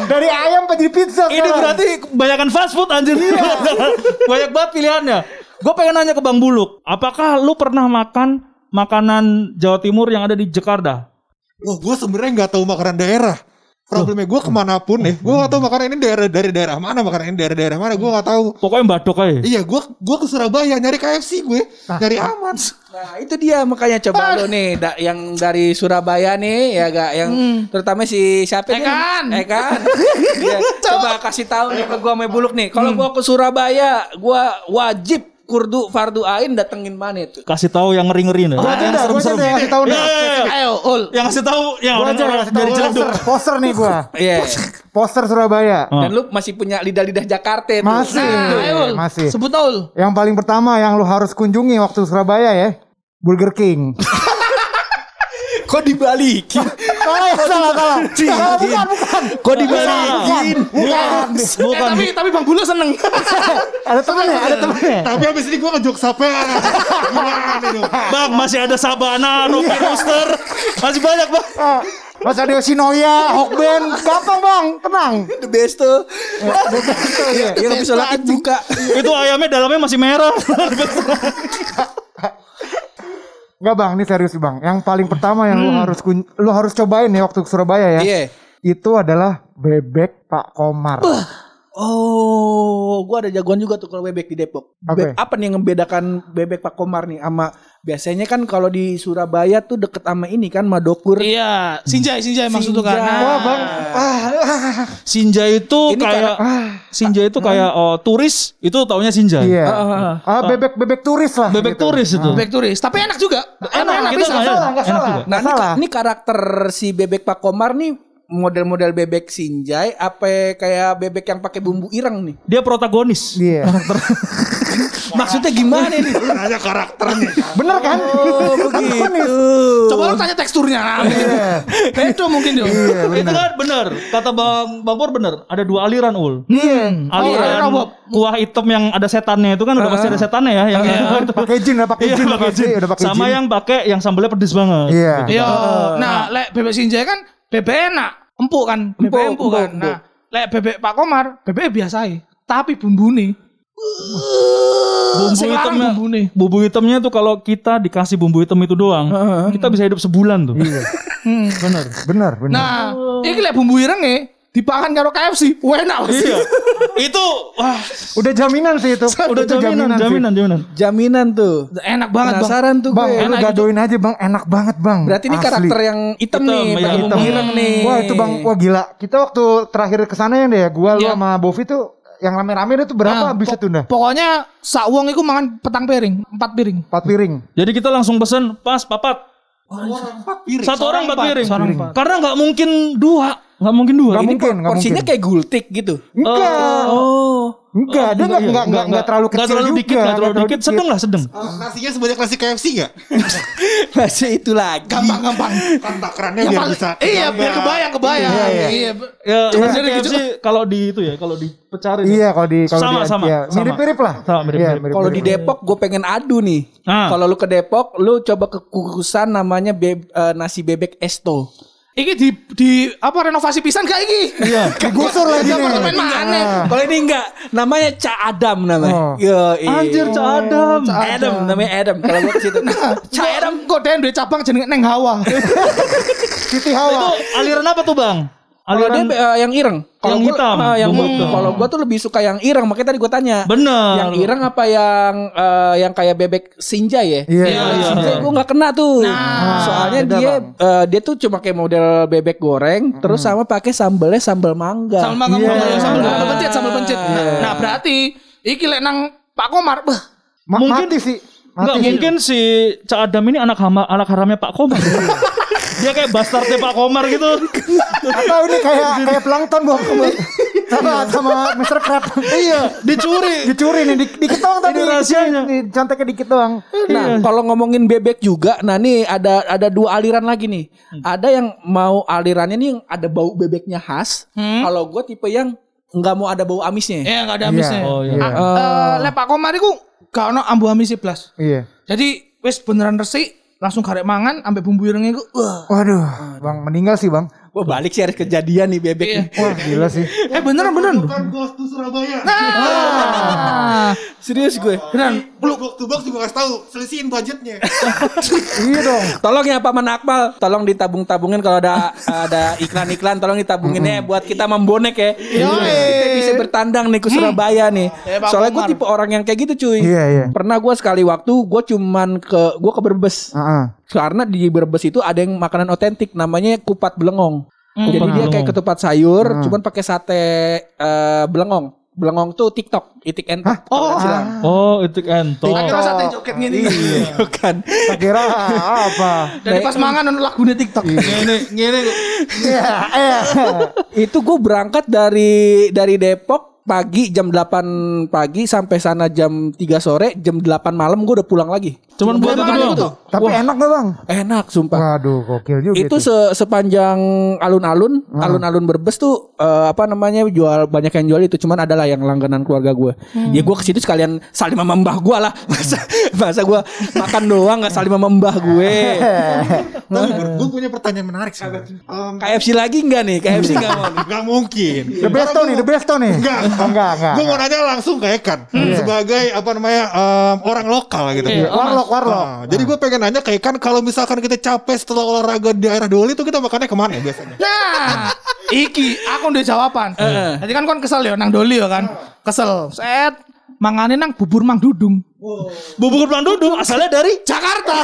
D: Dari ayam jadi pizza
B: Ini
D: sekarang.
B: berarti kebanyakan fast food anjir. *laughs* Banyak banget pilihannya. Gue pengen nanya ke Bang Buluk, apakah lu pernah makan makanan Jawa Timur yang ada di Jakarta?
E: Wah gue sebenarnya nggak tahu makanan daerah. problemnya gue kemanapun ya gue gak tahu makanan ini daerah dari daerah mana makanan ini daerah daerah mana gue gak tahu
B: Pokoknya badok aja.
E: iya gue gue ke Surabaya nyari KFC gue
D: Ah.
E: nyari aman
A: Nah itu dia makanya coba lo nih da- yang dari Surabaya nih ya gak yang
C: Hmm.
A: terutama si siapa nih?
C: Ekan. *laughs*
A: Ekan. Ya, coba kasih tahu nih ke gua sama Buluk nih. Kalau
C: Hmm.
A: gua ke Surabaya, gua wajib kurdu fardu ain datengin mana itu?
B: Kasih tahu yang ngeri-ngeri nih. Iya,
D: Gua aja dah, gua aja dah yang kasih tahu dah.
C: Ayo, ul.
B: Yang kasih tahu ya, yang
D: Gua aja yang kasih tahu poster, poster nih gua. *laughs*
A: Iya.
D: Poster Surabaya.
A: Dan lu masih punya lidah-lidah Jakarta itu.
D: Masih,
C: Nah, ayo, ul.
D: masih.
C: Sebut tau, ul.
D: Yang paling pertama yang lu harus kunjungi waktu Surabaya ya, Burger King.
B: *laughs*
A: Kok dibalikin?
D: salah, ya, salah, salah. Salah, bukan, bukan.
A: Kok dibalikin?
D: Bukan.
C: Eh, tapi tapi Bang Bulu seneng.
D: Ada temennya, ada temennya.
E: tapi abis ini gue ngejok sampai gimana nih dong?
B: Bang masih ada Sabana, Rocky
D: Iya.
B: Rooster. Masih banyak, Bang.
D: Ah, Mas ada Yoshinoya, Hokben, gampang bang, tenang.
A: The best tuh.
D: Iya.
B: *laughs*
A: Ya nggak bisa lagi buka.
B: Itu ayamnya dalamnya masih merah.
D: Enggak bang, ini serius bang. Yang paling pertama yang lu
B: Hmm.
D: harus kun- lu harus cobain ya waktu ke Surabaya ya.
A: Iya.
D: Itu adalah bebek Pak Komar.
A: Oh, gua ada jagoan juga tuh kalau bebek di Depok. Be-
D: Oke.
A: apa nih yang membedakan bebek Pak Komar nih sama biasanya kan kalau di Surabaya tuh deket sama ini kan Madokur.
C: Iya, Sinjai, Sinjai maksud tuh kan.
A: Sinjai.
C: Nah,
D: Oh bang, ah,
B: Sinja itu
A: Ini
B: kayak Sinja itu kayak oh, turis, itu taunya Sinja.
D: iya.
A: Ah, ah, ah.
D: Ah, bebek bebek turis lah.
B: Bebek
D: gitu.
B: turis itu.
C: Back turis, tapi enak juga. Enak, enak
B: kita
C: bisa.
B: nggak ya?
D: Salah, nggak
B: Enak
D: salah.
B: juga.
A: Nah, ini,
D: Salah.
A: ini karakter si bebek Pak Komar nih model-model bebek Sinjai apa kayak bebek yang pakai bumbu ireng nih?
B: Dia protagonis. *laughs*
D: Iya.
A: Maksudnya gimana nih?
E: nanya karakternya
D: Bener kan?
A: Oh, begitu.
D: *laughs*
C: Coba lu tanya teksturnya.
D: Iya,
C: Bedo mungkin dong.
B: Itu kan bener. Kata Bang Bang Pur bener. Ada dua aliran ul.
D: Iya.
C: Oh,
D: Ah.
B: Aliran
C: aliran apa?
B: kuah hitam yang ada setannya itu kan udah pasti ada setannya ya. Yang itu.
D: Pakai jin, udah pakai
B: Iya,
D: jin, udah
B: pakai
D: pasti,
B: jin.
D: udah pakai
B: Sama
D: jin.
B: yang pakai yang sambalnya pedes banget.
D: Iya.
B: Gitu.
C: Iya. Nah, lek bebek Sinjai kan bebek enak, empuk kan, bebek
A: Empuk,
C: empuk
A: empuk,
C: kan. Nah, lek bebek Pak Komar, bebek biasa aja. Tapi bumbu nih.
B: Bumbu hitamnya, Hmm. bumbu, hitamnya tuh kalau kita dikasih bumbu hitam itu doang, kita bisa hidup sebulan tuh.
D: Iya. Bener, bener, bener.
C: Nah, iki lek bumbu irenge dipangan karo KFC, wah enak pasti.
B: *laughs* Iya. itu wah,
D: Udah jaminan sih *laughs* itu.
B: udah
D: Itu
B: jaminan,
D: sih.
B: jaminan, jaminan.
A: Jaminan tuh.
C: Enak banget, Bang.
A: Penasaran tuh
D: Bang,
A: gue.
D: lu
B: gitu.
C: Enak
D: gadoin aja bang, enak banget bang.
A: Berarti ini
D: Asli.
A: karakter yang hitam,
B: Hitam,
A: nih,
B: iya.
A: pakai bumbu
B: Hitam.
A: ireng nih.
D: Wah itu bang, wah gila. Kita waktu terakhir kesana ya deh, gua lu
C: Iya.
D: sama Bovi tuh yang rame-rame itu
C: Nah,
B: Ah,
D: berapa bisa
C: po-
D: tuh dah?
C: Pokoknya sak wong iku mangan petang piring, empat piring.
D: Empat piring.
B: Jadi kita langsung pesen pas papat. Satu orang empat
C: empat,
B: piring.
C: seorang empat.
B: Karena nggak mungkin dua, nggak mungkin dua.
D: Nggak
B: Ini-
D: mungkin, nggak
A: Porsinya
D: mungkin.
A: kayak gultik gitu. *laughs*
D: Enggak,
B: Oh,
D: enggak, dia enggak enggak enggak enggak terlalu
B: Nggak
D: kecil
B: terlalu
D: juga.
B: dikit, nggak terlalu dikit, sedang lah sedang.
E: Oh, nasinya sebanyak nasi KFC gak?
A: Masih itu lagi.
C: Gampang-gampang.
E: kan takarannya biar bisa
C: Iya, biar kebayang, kebayang.
D: Iya, iya.
C: be-
B: Ya,
C: Iya.
B: jadi kalau di itu ya, kalau dipecarin. ya.
D: Iya kalau di kalau
B: Sama,
D: di-
B: sama,
D: ya,
B: sama.
D: mirip-mirip lah.
B: Sama, mirip-mirip.
D: Iya,
A: Kalau di Depok gue pengen adu nih.
B: Ah.
A: Kalau lu ke Depok, lu coba ke kukusan namanya be- eh, nasi bebek Esto.
C: Iki di di apa renovasi pisan gak iki? Iya.
D: Digusur lagi nih.
C: Apartemen mana?
B: Ah.
A: Kalau ini enggak, namanya Ca Adam
D: Oh.
A: namanya. Yo, iya.
B: Anjir, Cak Adam.
A: Adam, namanya Adam. Kalau gue ke situ.
C: Cak Adam koden duwe cabang jenenge Neng Hawa.
D: Siti
B: Itu
D: Hawa.
B: aliran apa tuh bang?
A: Kalau dia
B: Aliran
A: eh, yang ireng. Kalau
B: Yang
A: gua-
B: hitam,
A: eh, yang
B: bumbu
A: gua-
B: hitam.
A: Kalau gua tuh lebih suka yang ireng, makanya tadi gue tanya.
B: bener.
A: Yang iya. ireng apa yang eh, yang kayak bebek sinja ya?
D: Iya.
B: Iya.
A: gue nggak kena tuh. Soalnya
D: beda,
A: dia eh, dia tuh cuma kayak model bebek goreng,
B: Hmm.
A: terus sama pakai sambelnya sambel
B: Ah,
A: mangga.
C: Sambal mangga
D: Iya.
C: sambal sambal sambal pencet sambal
B: Iya.
C: pencet. Nah, nah, berarti iki lek nang Pak Komar, beh.
D: Ma-
B: Mungkin-
D: mati sih.
B: Nggak
D: Mati.
B: mungkin si Cak Adam ini anak hama, anak haramnya Pak Komar. *laughs* dia kayak bastardnya Pak Komar gitu.
D: Atau ini kayak kayak plankton buang sama sama Mr. Crab. Iya.
B: Dicuri.
D: Dicuri nih, di- dikit doang tapi
B: Ini rahasianya.
D: Ini conteknya dikit doang.
C: Iya.
A: Nah, kalau ngomongin bebek juga, nah nih ada ada dua aliran lagi nih.
C: Hmm.
A: Ada yang mau alirannya nih yang ada bau bebeknya khas.
C: Hmm?
A: Kalau gue tipe yang nggak mau ada bau amisnya.
C: Ya enggak ada habisnya.
B: Oh, Hmm? iya.
C: Ah, eh, lek Pak Komar iku gak ono ambu-ambu blas.
D: Iya.
C: Jadi wis beneran resik langsung karek mangan ambek bumbu ireng iku. Wah.
D: Waduh, Bang meninggal sih, Bang.
A: Gue balik sih harus kejadian nih bebek.
C: Iya.
A: nih. *laughs*
D: Wah, gila sih.
E: kan
C: Eh beneran beneran.
D: Nah.
E: ghost to Surabaya
C: Ah.
A: Serius gue. Nah,
C: Beneran.
E: Blok box to box juga kasih tahu, selisihin budgetnya.
D: Iya dong.
A: Tolong ya Paman Akmal, tolong ditabung-tabungin kalau ada ada iklan-iklan tolong ditabunginnya
C: Hmm.
A: buat kita membonek ya. Kita bisa bertandang nih ke Surabaya nih.
C: Ya, Iya. Hmm. Pak
A: Soalnya gue
C: Umar.
A: tipe orang yang kayak gitu cuy.
D: Iya, iya.
A: Pernah gue sekali waktu gue cuman ke gue ke Brebes.
D: Heeh.
A: Karena di Brebes itu ada yang makanan otentik namanya kupat belengong. Jadi
B: Hmm. Kupat
A: dia kayak
B: belengong.
A: ketupat sayur,
D: Hmm.
A: cuman pakai sate eh, belengong. Belengong tuh TikTok, itik and *laughs* Tok, kalau nggak salah.
B: Oh, itu
C: Akhirnya
B: entok.
C: rasa teh joget gini.
A: Bukan.
D: Iya. Tak kira apa?
C: Dari pas mangan lagunya TikTok.
E: Ngene ngene
D: Iya, iya.
A: Itu gue berangkat dari dari Depok pagi jam 8 pagi sampai sana jam 3 sore, jam 8 malam gue udah pulang lagi.
B: Cuman buat itu
C: makan itu
B: doang.
C: tuh.
D: Tapi enak gak bang?
A: Enak sumpah.
D: Waduh, gokil juga
A: itu se- sepanjang alun-alun, alun-alun Brebes tuh eh, apa namanya jual banyak yang jual itu cuman adalah yang langganan keluarga gue. Ya gue ke situ sekalian salim sama mbah gue lah. *laughs* Masa masa gue makan doang nggak salim sama mbah gue.
E: Tapi gue punya pertanyaan menarik sebenarnya. Em,
A: KFC lagi enggak nih? KFC enggak
E: *laughs*
A: mau. nih?
E: Gak mungkin.
D: The best nih, the best nih.
E: Enggak.
D: Oh, enggak, enggak.
C: Iya.
E: Gue mau nanya langsung ke Ekan sebagai apa namanya em, orang lokal gitu.
C: Hmm. Iya.
D: Warlock, warlock.
E: Nah, jadi gue pengen nanya kayak kan kalau misalkan kita capek setelah olahraga di daerah Doli itu kita makannya kemana ya
C: *laughs*
E: biasanya?
C: Nah, iki aku udah jawaban. Nanti kan kon kesel ya nang doli ya kan. Kesel. Set mangane nang bubur Mang Dudung.
B: Bubur pelan dudung asalnya dari
C: Jakarta.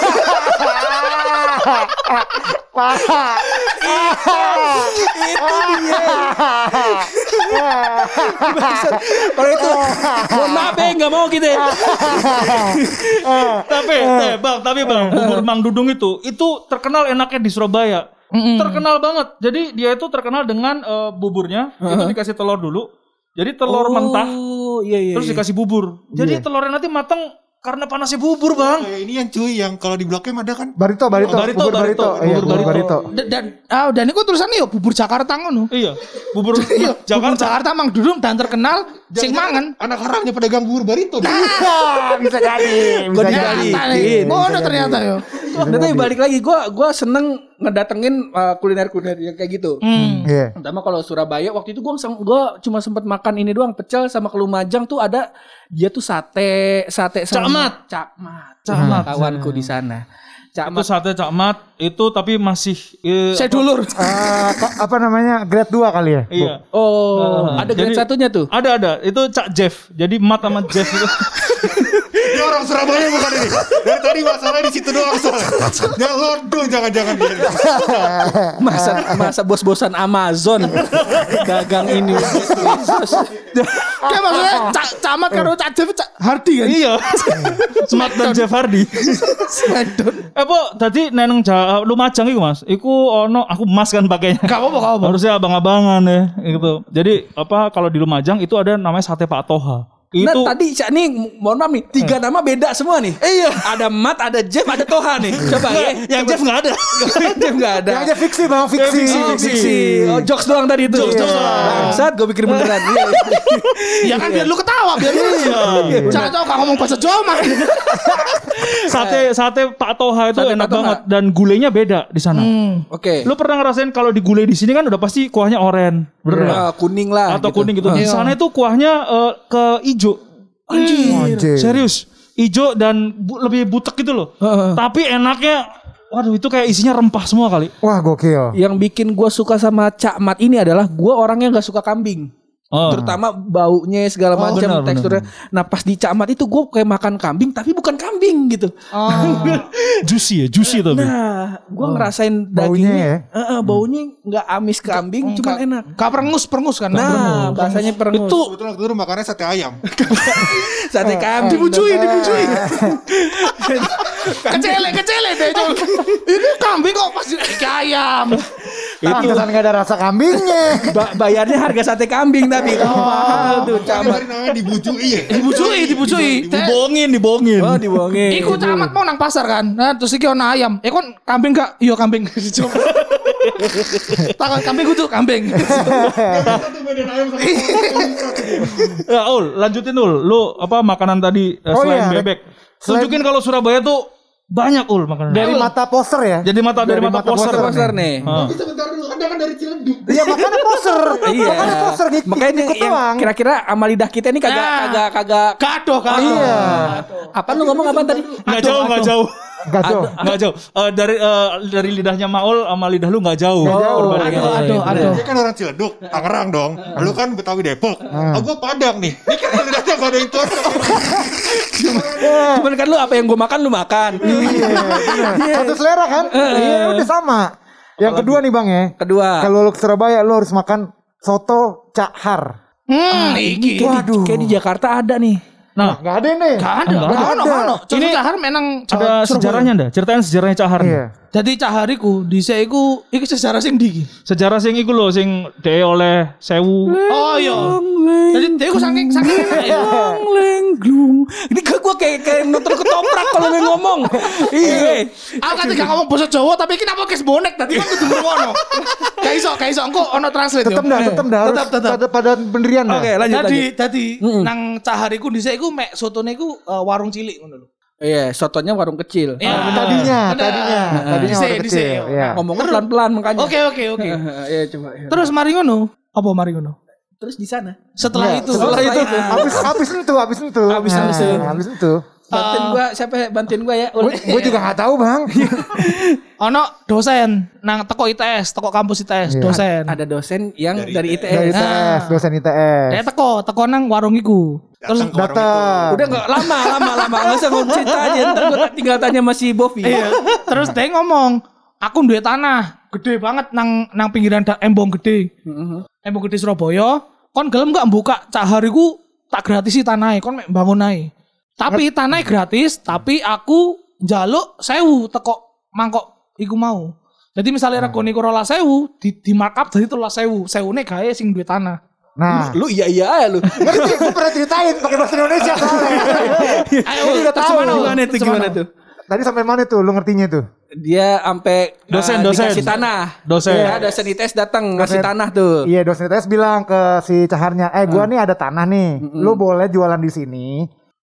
A: Kalau itu mohon maaf ya enggak mau gitu. ya.
B: tapi eh, bang tapi bang bubur mang dudung itu itu terkenal enaknya di Surabaya terkenal banget jadi dia itu terkenal dengan eh, buburnya itu dikasih telur dulu jadi telur mentah
A: Oh, iya iya.
B: terus dikasih bubur jadi telurnya nanti matang karena panasnya bubur bang
E: Kayak ini yang cuy yang kalau di blok M ada kan?
D: Barito, barito,
B: Barito,
D: bubur
B: barito,
D: barito. Iya,
B: bubur
D: bubur barito.
C: *laughs* Dan dan ah, dan iku tulisannya ya bubur Jakarta ngono.
B: iya
A: *laughs*
B: bubur
C: Iya, bubur
B: Jakarta
C: Jakarta Mang Dudung dan terkenal sing mangan. Nah.
E: Anak haramnya pedagang bubur barito.
D: Ah, bisa jadi, bisa jadi.
C: Ternyata nih. Ngono ternyata yo.
A: Nah, tapi balik lagi gue gua seneng ngedatengin uh, kuliner-kuliner yang kayak gitu.
C: Hmm.
D: Iya.
A: Pertama kalau Surabaya waktu itu gue gua cuma sempat makan ini doang pecel sama ke Lumajang tuh ada dia tuh sate sate sama-
B: Cakmat.
A: cakmat
B: Cakmat.
C: Hmm.
A: kawanku di sana.
B: itu
A: Cakmat
B: sate cakmat itu tapi masih eh,
C: Saya dulur.
D: Eh, ko- apa namanya? Grade 2 kali ya? Bu?
B: iya
A: Oh,
B: Nah,
C: Hmm.
A: ada grade
B: jadi-
A: satunya tuh. Iya.
B: ada ada itu cak Jeff jadi mat sama Jeff
A: *laughs*
B: itu
E: Ini orang Surabaya bukan ini. Dari tadi masalahnya di situ doang soalnya. Ya lordo jangan-jangan.
C: *laughs*
A: Masa masa bos-bosan Amazon dagang *laughs* ini.
C: Kayak maksudnya cak camat karo cak Jeff cak Hardi kan.
B: iya mat dan Jeff Hardy
C: Wedon.
B: Eh po, tadi neneng ja, eh, Lumajang iku Mas. Iku ono aku Mas kan pakainya.
C: Gak apa-apa, gak apa-apa.
B: Harusnya abang-abangan ya gitu. Jadi apa kalau di Lumajang itu ada namanya sate Pak Toha. Itu Hmm.
A: Nah tadi Cak nih mohon maaf nih tiga nama beda semua nih. Iya. Ada Mat, ada Jeff, ada Toha nih. Coba ya.
B: yang Jeff Hmm. nggak ada.
A: *laughs* Jeff nggak ada.
D: Yang Ya aja fiksi, bang, fiksi.
A: Oh, fiksi. Oh, jokes doang tadi itu. Jokes doang. Saat gue pikir
B: *laughs*
A: beneran. Iya.
C: Ya kan biar lu ketawa, biar lu. Jangan tau gak ngomong bahasa Jawa Mang.
B: Sate sate Pak Toha
A: Eh.
B: itu
A: Sate Pak Toha. Hmm.
B: enak banget dan gulenya beda di sana.
A: Oke.
B: Lu pernah ngerasain kalau di gulai di sini kan udah pasti kuahnya oren, bener nggak?
A: Ah, kuning lah.
B: Atau
A: gitu.
B: kuning gitu. Di sana itu kuahnya eh, ke ijo.
D: Ah. Anjir.
B: Serius, ijo dan bu- lebih butek gitu loh.
D: Ah.
B: Tapi enaknya waduh itu kayak isinya rempah semua kali.
D: Wah, gokil.
A: Yang bikin gue suka sama Cak Mat ini adalah gue orangnya nggak suka kambing.
B: Oh.
A: Terutama baunya segala macam
B: benar,
A: teksturnya. Nah pas di Cak Mat itu gue kayak makan kambing tapi bukan kambing gitu. *laughs*
B: juicy ya, juicy tapi.
A: Nah gue ngerasain
D: Baunya
A: dagingnya.
D: ya?
A: eh, eh, baunya nggak amis kambing, cuman enak.
C: Gak perengus, perengus kan.
A: Nah bahasanya perengus. Eh, Itu
E: Kebetulan waktu itu makannya sate ayam.
A: sate kambing. Nah, Dibujuin, dibujuin.
C: kecele, kecele deh. Jol. Ini kambing kok pas iki ayam.
D: Pantesan gak ada rasa
A: *laughs*
D: kambingnya.
A: *laughs* Ba- bayarnya harga sate kambing tapi mahal tuh Cak Mat.
E: Dari namanya dibujui ya.
C: Dibujui, dibujui. Teh,
B: Dibohongin, dibohongin.
D: Ah,
A: Oh dibohongin.
C: Iku camat mau nang pasar kan. Nah, terus iki ono ayam. Eh kon kambing gak? Iya kambing. Dicoba. Takon kambing kudu kambing.
E: Satu medan ayam sama
B: *laughs*
C: Iya.
B: Ya, Ul, lanjutin Ul. Lu apa makanan tadi eh,
D: Oh,
B: selain
D: iya.
B: bebek?
D: Selain-
B: Tunjukin kalau Surabaya tuh banyak Ul makanan.
D: Dari mata poster ya?
B: Jadi mata- dari mata poster.
A: Poster nih.
B: Ah.
E: Tapi sebentar dulu ada jangan dari Ciledug.
D: Iya makanya poser.
A: Iya.
D: Makanya poser gitu.
A: Makanya ini
D: ikut
A: yang
D: doang.
A: kira-kira sama lidah kita ini kagak
C: Nah.
A: kagak kagak
C: Kado, kado.
D: Iya.
A: apa lu ngomong apa tadi?
B: Nggak jauh, nggak jauh. *laughs*
D: Gaduh.
B: Nggak jauh. Eh, dari eh, dari lidahnya Maul sama lidah lu nggak jauh.
D: Nggak jauh.
B: Perbandingan.
C: Aduh,
A: Iya,
C: aduh, aduh.
E: Dia kan orang Ciledug, Tangerang dong. Lu kan Betawi Depok. Ah, gua Padang nih. Ini kan lidahnya gak ada yang cocok.
A: Cuman kan lu apa yang gua makan lu makan.
D: Iya. Satu selera kan? Iya udah sama. Yang kedua nih bang ya.
A: Kedua.
D: Kalau lu ke Surabaya lu harus makan soto cahar.
C: Hmm,
A: Kayak
C: iki.
A: di-
D: Waduh.
A: Kayak di Jakarta ada nih.
B: Nah,
D: Gak ada nih.
C: Gak
B: Enggak
C: ada, gak ada,
D: ada.
C: gak ada. Contoh cahar menang
B: ada sejarahnya ndak? Ceritain sejarahnya Cahar.
D: Iya.
C: Jadi cahariku, di seiku, iki sejarah sing digi.
B: Sejarah sing iku lho sing dhewe oleh sewu.
C: Oh iya. Jadi dia ku saking saking enak ya.
A: Lengglung. Iya. Ini kayak gua kayak kayak nonton ketoprak kalau lu ngomong. Iya.
C: Aku katanya gak ngomong bahasa Jawa tapi kita pakai bonek tadi kan kudu ngono. Gak iso, gak iso engko ono translate.
D: Tetep
C: yo.
D: dah, tetep dah. Harus
C: Tetep, tetep.
D: pada pada pendirian dah.
A: Oke, lanjut
C: Tadi
A: lanjut.
C: tadi nang cahariku di seiku mek sotone ku eh, warung cilik ngono lho. Iya. Nah,
A: Iya, sotonya warung kecil.
D: Ah, Tadinya,
C: bener.
D: tadinya, tadinya
C: Dhisik,
D: waktu
C: dhisik,
D: kecil.
C: yo.
D: Iya.
A: Ngomongnya pelan-pelan makanya.
C: Oke, oke, oke.
A: Iya, coba. iya.
C: Terus mari ngono. Apa mari ngono?
A: Terus di sana.
C: Setelah
D: Iya,
C: itu,
D: setelah itu, habis habis itu, habis itu, Nah,
A: Habis itu.
D: habis itu.
A: Bantuin gua siapa ya? bantuin gua ya.
D: Gue juga nggak tahu bang.
C: ono dosen nang teko ITS, teko kampus ITS,
D: Iya.
C: dosen.
A: Ada dosen yang dari, E.
D: Dari E.
A: ITS.
D: ITS, dosen
A: Eh,
D: ITS.
C: Saya teko, teko nang warung iku. Terus
E: Datang ke warung
D: Datang.
A: Udah nggak lama lama lama nggak usah ngomong cerita aja ntar gue tinggal tanya masih Bovi.
C: Iya. Terus dia ngomong, aku duwe tanah gede banget nang nang pinggiran da- Embong Gede.
A: Mm-hmm.
C: Embong Gede Surabaya. Kon gelem gak buka cahar iku tak gratis tanahnya, kon mek bangun ae. Tapi tanahnya gratis, tapi aku njaluk sewu teko mangkok iku mau. Jadi misalnya regone iku rolas sewu, di, di markup jadi telas sewu. Sewune gawe sing duwe tanah.
D: *laughs* Nah,
A: Lu iya iya aja lu.
D: ngerti gue pernah ceritain pakai bahasa Indonesia soalnya.
C: Ayo,
D: Jadi udah
C: terus
D: tahu.
C: gimana?
A: Gimana tuh gimana
C: Terus gimana?
A: tuh?
D: *laughs* Tadi sampai mana tuh? Lu ngertinya tuh?
A: Dia sampai
B: Dosen,
A: eh,
B: dosen.
A: dikasih tanah.
B: Dosen.
A: Ya, dosen ITS datang ngasih
D: Dosen.
A: tanah tuh.
D: Iya dosen ITS bilang ke si caharnya, eh
A: Hmm.
D: gua nih ada tanah nih, lu boleh jualan di sini,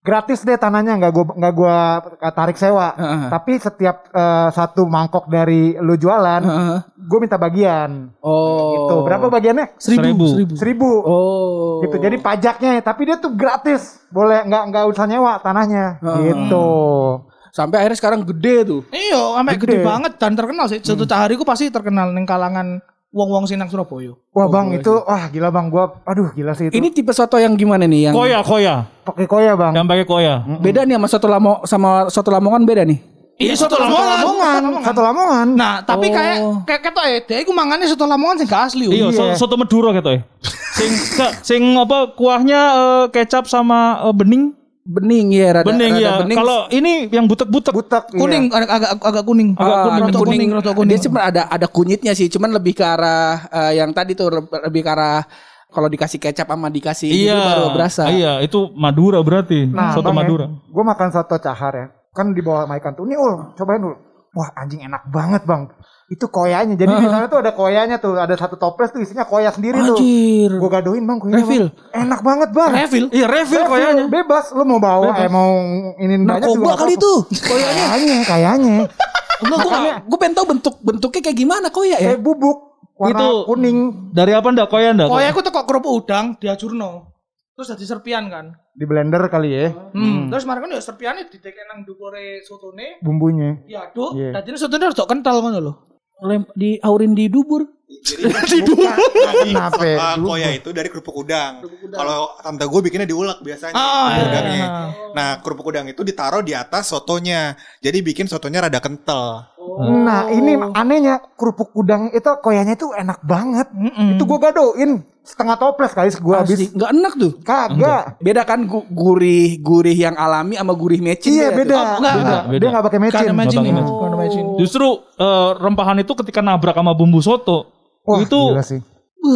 D: gratis deh tanahnya nggak gua nggak gua tarik sewa,
A: Heeh.
D: tapi setiap eh, satu mangkok dari lu jualan,
A: Heeh.
D: gua minta bagian.
A: Oh.
D: Gitu. berapa bagiannya?
C: Seribu,
B: Seribu.
C: seribu.
D: Seribu.
A: Oh.
D: Gitu. Jadi pajaknya, tapi dia tuh gratis, boleh nggak nggak usah nyewa tanahnya. Gitu.
A: Sampai akhirnya sekarang gede tuh.
C: Iya, sampe gede. banget dan terkenal sih. Soto Cahariku pasti terkenal ning kalangan wong-wong sinang Surabaya.
D: Wah bang itu, wah Oh, gila bang, gua, aduh gila sih itu.
A: Ini tipe soto yang gimana nih yang
B: Koya, koya.
D: pakai koya bang.
B: Yang pakai koya.
A: beda nih sama soto lamo sama soto lamongan beda nih.
C: Iya, soto
D: Lamongan, satu Lamongan.
C: Nah, tapi kayak kayak ketok ya, dia iku mangane soto Lamongan sing gak asli. yo.
B: Iya, so- soto Madura gitu ya. Sing *laughs* ke- sing apa kuahnya eh, kecap sama eh, bening.
A: Bening ya rada
B: Bening
A: rada
B: ya. Kalau ini yang butek-butek.
D: butek iya.
C: Kuning agak agak agak kuning.
A: Agak kuning, Ah,
C: rotok
A: kuning,
C: kuning, rotok kuning.
A: Dia sebenarnya ada ada kunyitnya sih, cuman lebih ke arah eh, yang tadi tuh le- lebih ke arah kalau dikasih kecap sama dikasih
B: Iya.
A: gitu baru berasa.
B: Iya, itu Madura berarti.
D: Nah,
B: soto Madura.
D: Gue ya, makan soto cahar ya. Kan di bawah Maikan tuh. Nih ul, cobain dulu. Wah anjing enak banget bang. Itu koyanya. Jadi di sana tuh ada koyanya tuh. Ada satu toples tuh isinya koya sendiri tuh.
A: Anjir.
D: Gue gadoin bang koyanya.
A: Refill.
D: Bang. Enak banget bang.
C: Refill.
B: Iya, refill koyanya.
D: Bebas. Lu mau bawa eh mau ini banyak
A: Narkoba
D: juga. nggak
A: kali
D: apa-apa. *laughs* Oh,
A: tuh.
D: iya, Kayaknya, kayaknya.
A: Enggak, gue
D: ya.
A: gue pengen tahu bentuk bentuknya kayak gimana koya ya.
D: Kayak Eh, bubuk. Warna
B: Itu-
D: kuning.
B: Dari apa ndak koya ndak?
C: Koyak Oh, ya, aku teko kerupuk udang diajurno. Terus jadi serpian kan.
D: Di blender kali ya.
C: Hmm. Terus kemarin kan ya serpiane didekek nang dukure sotone,
D: Bumbunya.
C: diaduk,
D: Iya.
C: dadine sotone rodok kental ngono lho.
A: Lem, di aurin di dubur.
D: Kenapa?
E: Ah,
D: Dulu.
E: koya itu dari kerupuk udang. Kalau tante gue bikinnya diulek biasanya.
C: Ah,
E: kerupuk
C: iya.
E: udangnya. Nah, kerupuk udang itu ditaruh di atas sotonya. Jadi bikin sotonya rada kental.
D: Nah ini
C: Oh.
D: anehnya kerupuk udang itu koyanya itu enak banget.
C: Mm-mm.
D: Itu gue gadoin setengah toples kali gue habis.
A: Pasti enggak enak tuh.
D: Kagak.
A: Beda kan gu- gurih-gurih yang alami sama gurih mecin
D: Iya beda.
C: Oh, enggak, enggak.
D: Dia nggak pakai mecin.
C: Karena imagine,
B: Nggak pakai
C: karena imagine.
B: Justru eh, rempahan itu ketika nabrak sama bumbu soto
D: Wah,
B: itu
D: gila sih.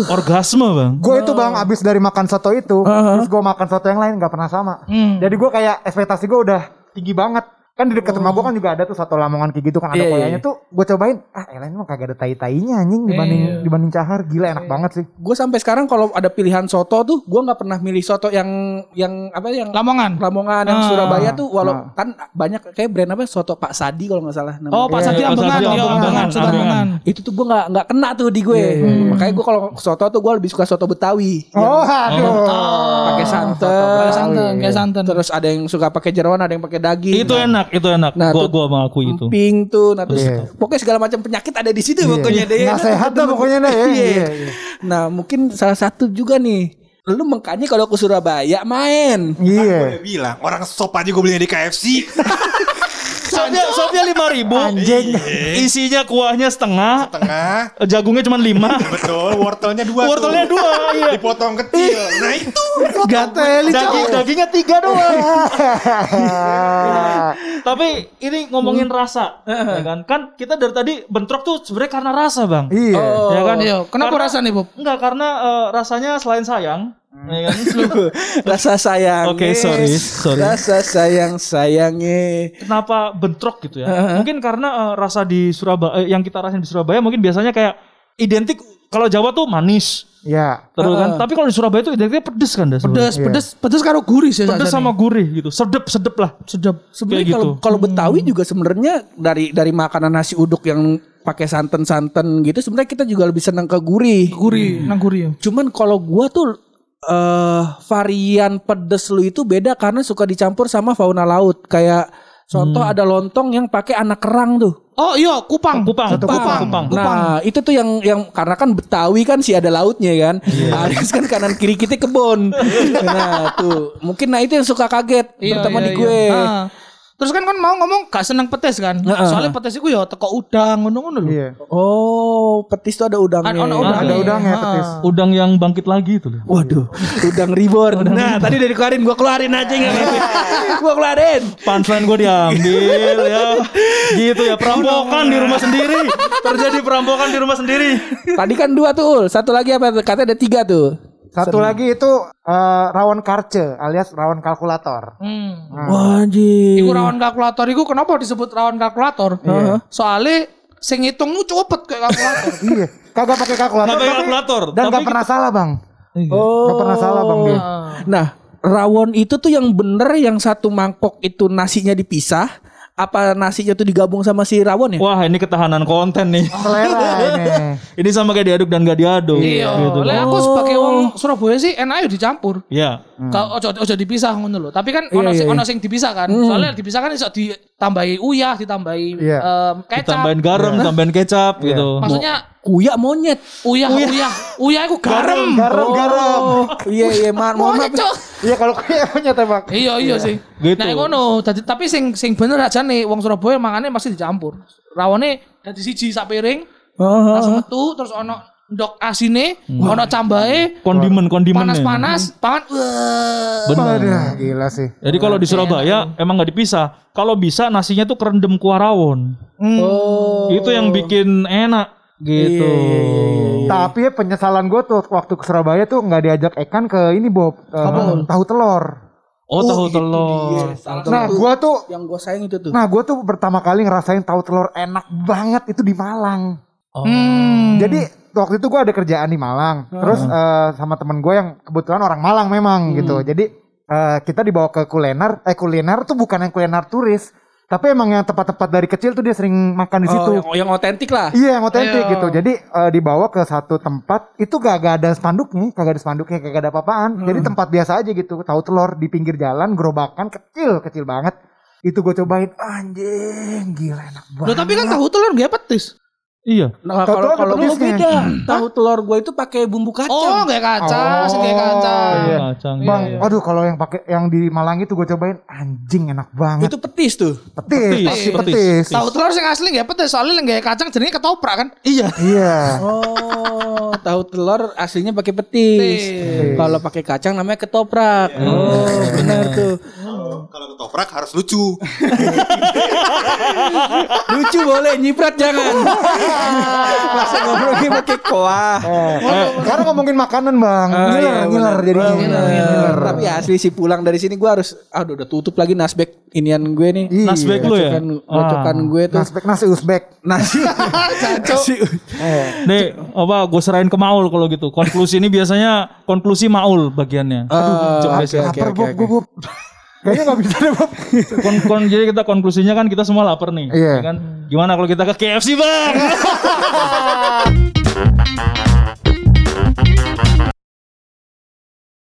B: orgasme, Bang.
D: Gue
C: Oh.
D: itu bang abis dari makan soto Hmm. itu, terus gue makan soto yang lain nggak pernah sama. Jadi gue kayak ekspektasi gue udah tinggi banget. Kan di dekat rumah
C: Oh.
D: gua kan juga ada tuh satu lamongan kayak gitu kan ada
A: Iya, iya,
D: koyanya
A: iya.
D: tuh gua cobain. Ah, elah ini mah kagak ada tai-tainya anjing dibanding
C: Iya.
D: dibanding cahar. Gila enak banget sih.
A: Gue sampai sekarang kalau ada pilihan soto tuh, gue nggak pernah milih soto yang yang apa yang
C: Lamongan.
A: Lamongan yang
C: Ah,
A: Surabaya tuh, walau
D: ah.
A: kan banyak kayak brand apa soto Pak Sadi kalau nggak salah. namanya.
C: Oh, Pak
B: Iya,
C: Sadi
B: Pak Sadi
C: Ambengan, iya,
B: Ambengan,
C: Ambengan, Soto
B: Ambengan.
C: Ambengan.
A: itu tuh gue nggak nggak kena tuh di gue. Hmm. Makanya gue kalau soto tuh gue lebih suka soto Betawi.
D: Oh, iya, aduh.
A: pakai santan,
C: Pakai santan, pakai santan.
A: Terus ada yang suka pakai jeroan, ada yang pakai daging.
B: Itu enak, itu enak.
A: Nah,
B: gua
A: tuh-
B: gua mengakui itu.
A: emping tuh, nah terus
D: Iya. Nah,
A: pokoknya segala macam penyakit ada di situ pokoknya deh.
D: Nggak sehat dah pokoknya dah ya.
A: Iya.
D: Iya, iya.
A: Nah mungkin salah satu juga nih, lu mengkanya kalau ke Surabaya main. *laughs*
D: Iya.
E: Gue bilang orang sop aja gue belinya di KFC.
B: Sopnya sopnya 5000.
D: Anjing.
B: Iya. Isinya kuahnya setengah, *laughs*
E: Tengah.
B: jagungnya cuma 5.
E: Betul, wortelnya dua. tuh.
B: Wortelnya dua, iya.
E: Dipotong kecil. Nah itu.
D: Gatel.
B: Daging dagingnya tiga doang.
D: Ah.
B: Tapi ini ngomongin rasa, ya kan? Kan kita dari tadi bentrok tuh sebenarnya karena rasa, Bang.
D: Iya.
B: Ya kan?
C: Iya, kenapa
B: Karena-
C: rasa nih, Bob?
B: Enggak, karena eh, rasanya selain sayang, ya kan?
A: *laughs* Rasa sayang.
B: Oke, sorry, sorry.
A: Rasa sayang sayangnya.
B: Kenapa bentrok gitu ya? Mungkin karena eh, rasa di Surabaya eh, yang kita rasain di Surabaya mungkin biasanya kayak identik kalau Jawa tuh manis,
D: Iya.
B: terus kan. Tapi kalau di Surabaya tuh identiknya pedes kan dah sebenarnya.
C: Pedes, pedes, pedes karo gurih sih.
B: Pedes sama gurih gitu. Sedep-sedep lah.
C: sedap.
A: Sebenarnya
B: Kayak
A: kalau
B: gitu.
A: kalau Betawi juga sebenarnya dari dari makanan nasi uduk yang pakai santan-santan gitu, sebenarnya kita juga lebih senang ke gurih. Hmm.
C: Gurih, nang gurih ya.
A: Cuman kalau gua tuh eh varian pedes lu itu beda karena suka dicampur sama fauna laut. Kayak contoh
B: Hmm.
A: ada lontong yang pakai anak kerang tuh.
C: Oh iya, kupang.
B: Kupang,
D: Satu kupang.
B: kupang.
A: Nah, itu tuh yang yang karena kan Betawi kan sih ada lautnya kan. Alias kan kanan kiri kita kebon. nah, tuh. Mungkin nah itu yang suka kaget terutama di gue.
C: Iya, Ah. Terus kan kan mau ngomong gak seneng petis kan? Soalnya petis itu ya teko udang ngono-ngono lho.
D: Iya.
A: Oh, petis tuh ada udangnya.
C: Ada- ada udang.
D: Ada udangnya
C: Ah.
D: petis.
B: Udang yang bangkit lagi itu loh.
A: Waduh, udang reborn. nah, tadi udah dikeluarin, gua keluarin aja nggak apa-apa. gua keluarin.
B: Punchline gue diambil ya. Gitu ya perampokan di rumah sendiri. Terjadi perampokan di rumah sendiri.
A: Tadi kan dua tuh, Ul. Satu lagi apa? Katanya ada tiga tuh.
D: Satu lagi itu eh, rawon karce alias rawon kalkulator.
C: Hmm.
A: Wajib.
C: Iku rawan kalkulator iku kenapa disebut rawan kalkulator? Soalnya sing ngitung lu copet kayak
A: *laughs*
C: kalkulator.
D: iya, kagak pakai kalkulator.
B: kan Nggak pakai
D: tapi-
B: kalkulator,
D: Dan
B: tapi-
D: nggak pernah salah bang.
A: Oh.
D: Nggak pernah salah bang dia.
C: Ah.
A: Nah, rawon itu tuh yang bener yang satu mangkok itu nasinya dipisah. Apa nasinya tuh digabung sama si rawon ya?
B: Wah ini ketahanan konten nih.
D: Selera ini.
B: Ini sama kayak diaduk dan gak diaduk.
C: Iya,
B: Gitu.
C: lah
A: Oh.
C: aku sebagai wong Surabaya sih enak ya dicampur.
B: Iya.
D: Hmm.
C: Ka- ojo ojo dipisah ngono lho. Tapi kan
A: Iya,
C: ono sing ono sing dipisah kan.
A: Hmm.
C: Soalnya dipisah kan iso ditambahi uyah, ditambahi
D: Iya.
C: em, kecap.
B: Tambahin garam, tambahin kecap gitu.
C: Maksudnya
A: Kuyak monyet.
C: uyah uyah uyah iku garam.
D: Garam garam.
A: Oh, iya iya, ma- mohon
C: Monyet
A: maaf.
C: cok.
D: Iya kalau *laughs* kayak punya tembak.
C: Iya iya sih.
B: Gitu.
C: Nah ngono. Dadi- tapi sing sing bener aja nih wong Surabaya mangane masih dicampur. Rawone dadi siji sak piring,
A: Heeh.
C: langsung metu terus ono ndok asine, ono cambae,
B: Kondimen, kondimen.
C: panas-panas, pangan wah.
D: Aduh, gila sih.
B: Jadi kalau di Surabaya emang nggak dipisah. Kalau bisa nasinya tuh kerendam kuah rawon.
A: Oh.
B: Itu yang bikin enak gitu.
D: Tapi ya penyesalan gue tuh waktu ke Surabaya tuh nggak diajak Ekan ke ini Bob. Eh, mana? tahu telur.
B: Oh, tahu
A: Iya,
B: telur.
D: Nah gue tuh,
A: Yang gue sayang itu tuh.
D: nah gue tuh pertama kali ngerasain tahu telur enak banget itu di Malang.
A: Oh.
D: Hmm. Jadi waktu itu gue ada kerjaan di Malang,
A: Hmm.
D: terus eh, sama temen gue yang kebetulan orang Malang memang gitu. Jadi eh, kita dibawa ke kuliner, eh kuliner tuh bukan yang kuliner turis, tapi emang yang tempat-tempat dari kecil tuh dia sering makan di situ.
A: Oh, yang yang otentik lah.
D: Iya yang otentik gitu. Jadi eh, dibawa ke satu tempat itu kagak ada spanduknya, kagak ada spanduknya, kagak ada apa-apaan.
A: Hmm.
D: Jadi tempat biasa aja gitu. Tahu telur di pinggir jalan, gerobakan kecil, kecil banget. Itu gue cobain, anjing, gila enak banget.
C: Loh, tapi kan tahu telur gak petis.
B: Iya.
A: Nah,
D: Tahu
A: kalau
D: telur ada
A: kalau gue
D: pedesnya.
A: beda. Tahu telur gue itu pakai bumbu
C: Oh,
A: kacang.
C: gak kaca,
D: Oh,
C: sing gak kaca.
D: iya.
B: Ah, Kacang.
D: Bang, aduh kalau yang pakai yang di Malang itu gue cobain anjing enak banget.
A: itu petis tuh.
D: petis,
B: petis,
D: pasti
B: petis.
D: petis.
C: Tahu telur sing asli gak petis, soalnya yang gak kacang jenenge ketoprak kan. *laughs*
B: Iya.
A: *laughs*
D: Iya.
A: Oh, *laughs* tahu telur aslinya pakai petis.
C: Petis. Iya. Oh.
A: Kalau pakai kacang namanya ketoprak. Oh, benar tuh.
E: Kalau ketoprak harus lucu.
A: Lucu boleh, nyiprat
C: *laughs*
A: jangan. Langsung ngobrolnya pakai kuah.
D: Karena Eh, ngomongin makanan bang,
A: Ah, iya,
D: ngiler, ngiler jadi
C: Iya,
A: Bener. Tapi asli sih pulang dari sini gue harus, aduh udah tutup lagi nasbek inian gue nih.
D: Iya.
B: Nasbek lu ya?
A: Kocokan, kocokan
B: Ah.
A: gue tuh.
D: Nasbek nasi Uzbek.
A: Nasi. Nasi.
D: *laughs* Eh,
B: Nih, apa gue serain ke Maul kalau gitu. Konklusi ini biasanya konklusi Maul bagiannya.
D: Ah,
A: Eh,
B: coba
A: oke,
B: sih.
A: oke,
D: Lapar
A: oke,
D: Bob,
A: oke.
D: gue Bob. Kayaknya nggak bisa deh Bob.
B: Kon kon- jadi kita konklusinya kan kita semua lapar nih.
D: Iya.
B: ya Kan? Gimana kalau kita ke KFC bang?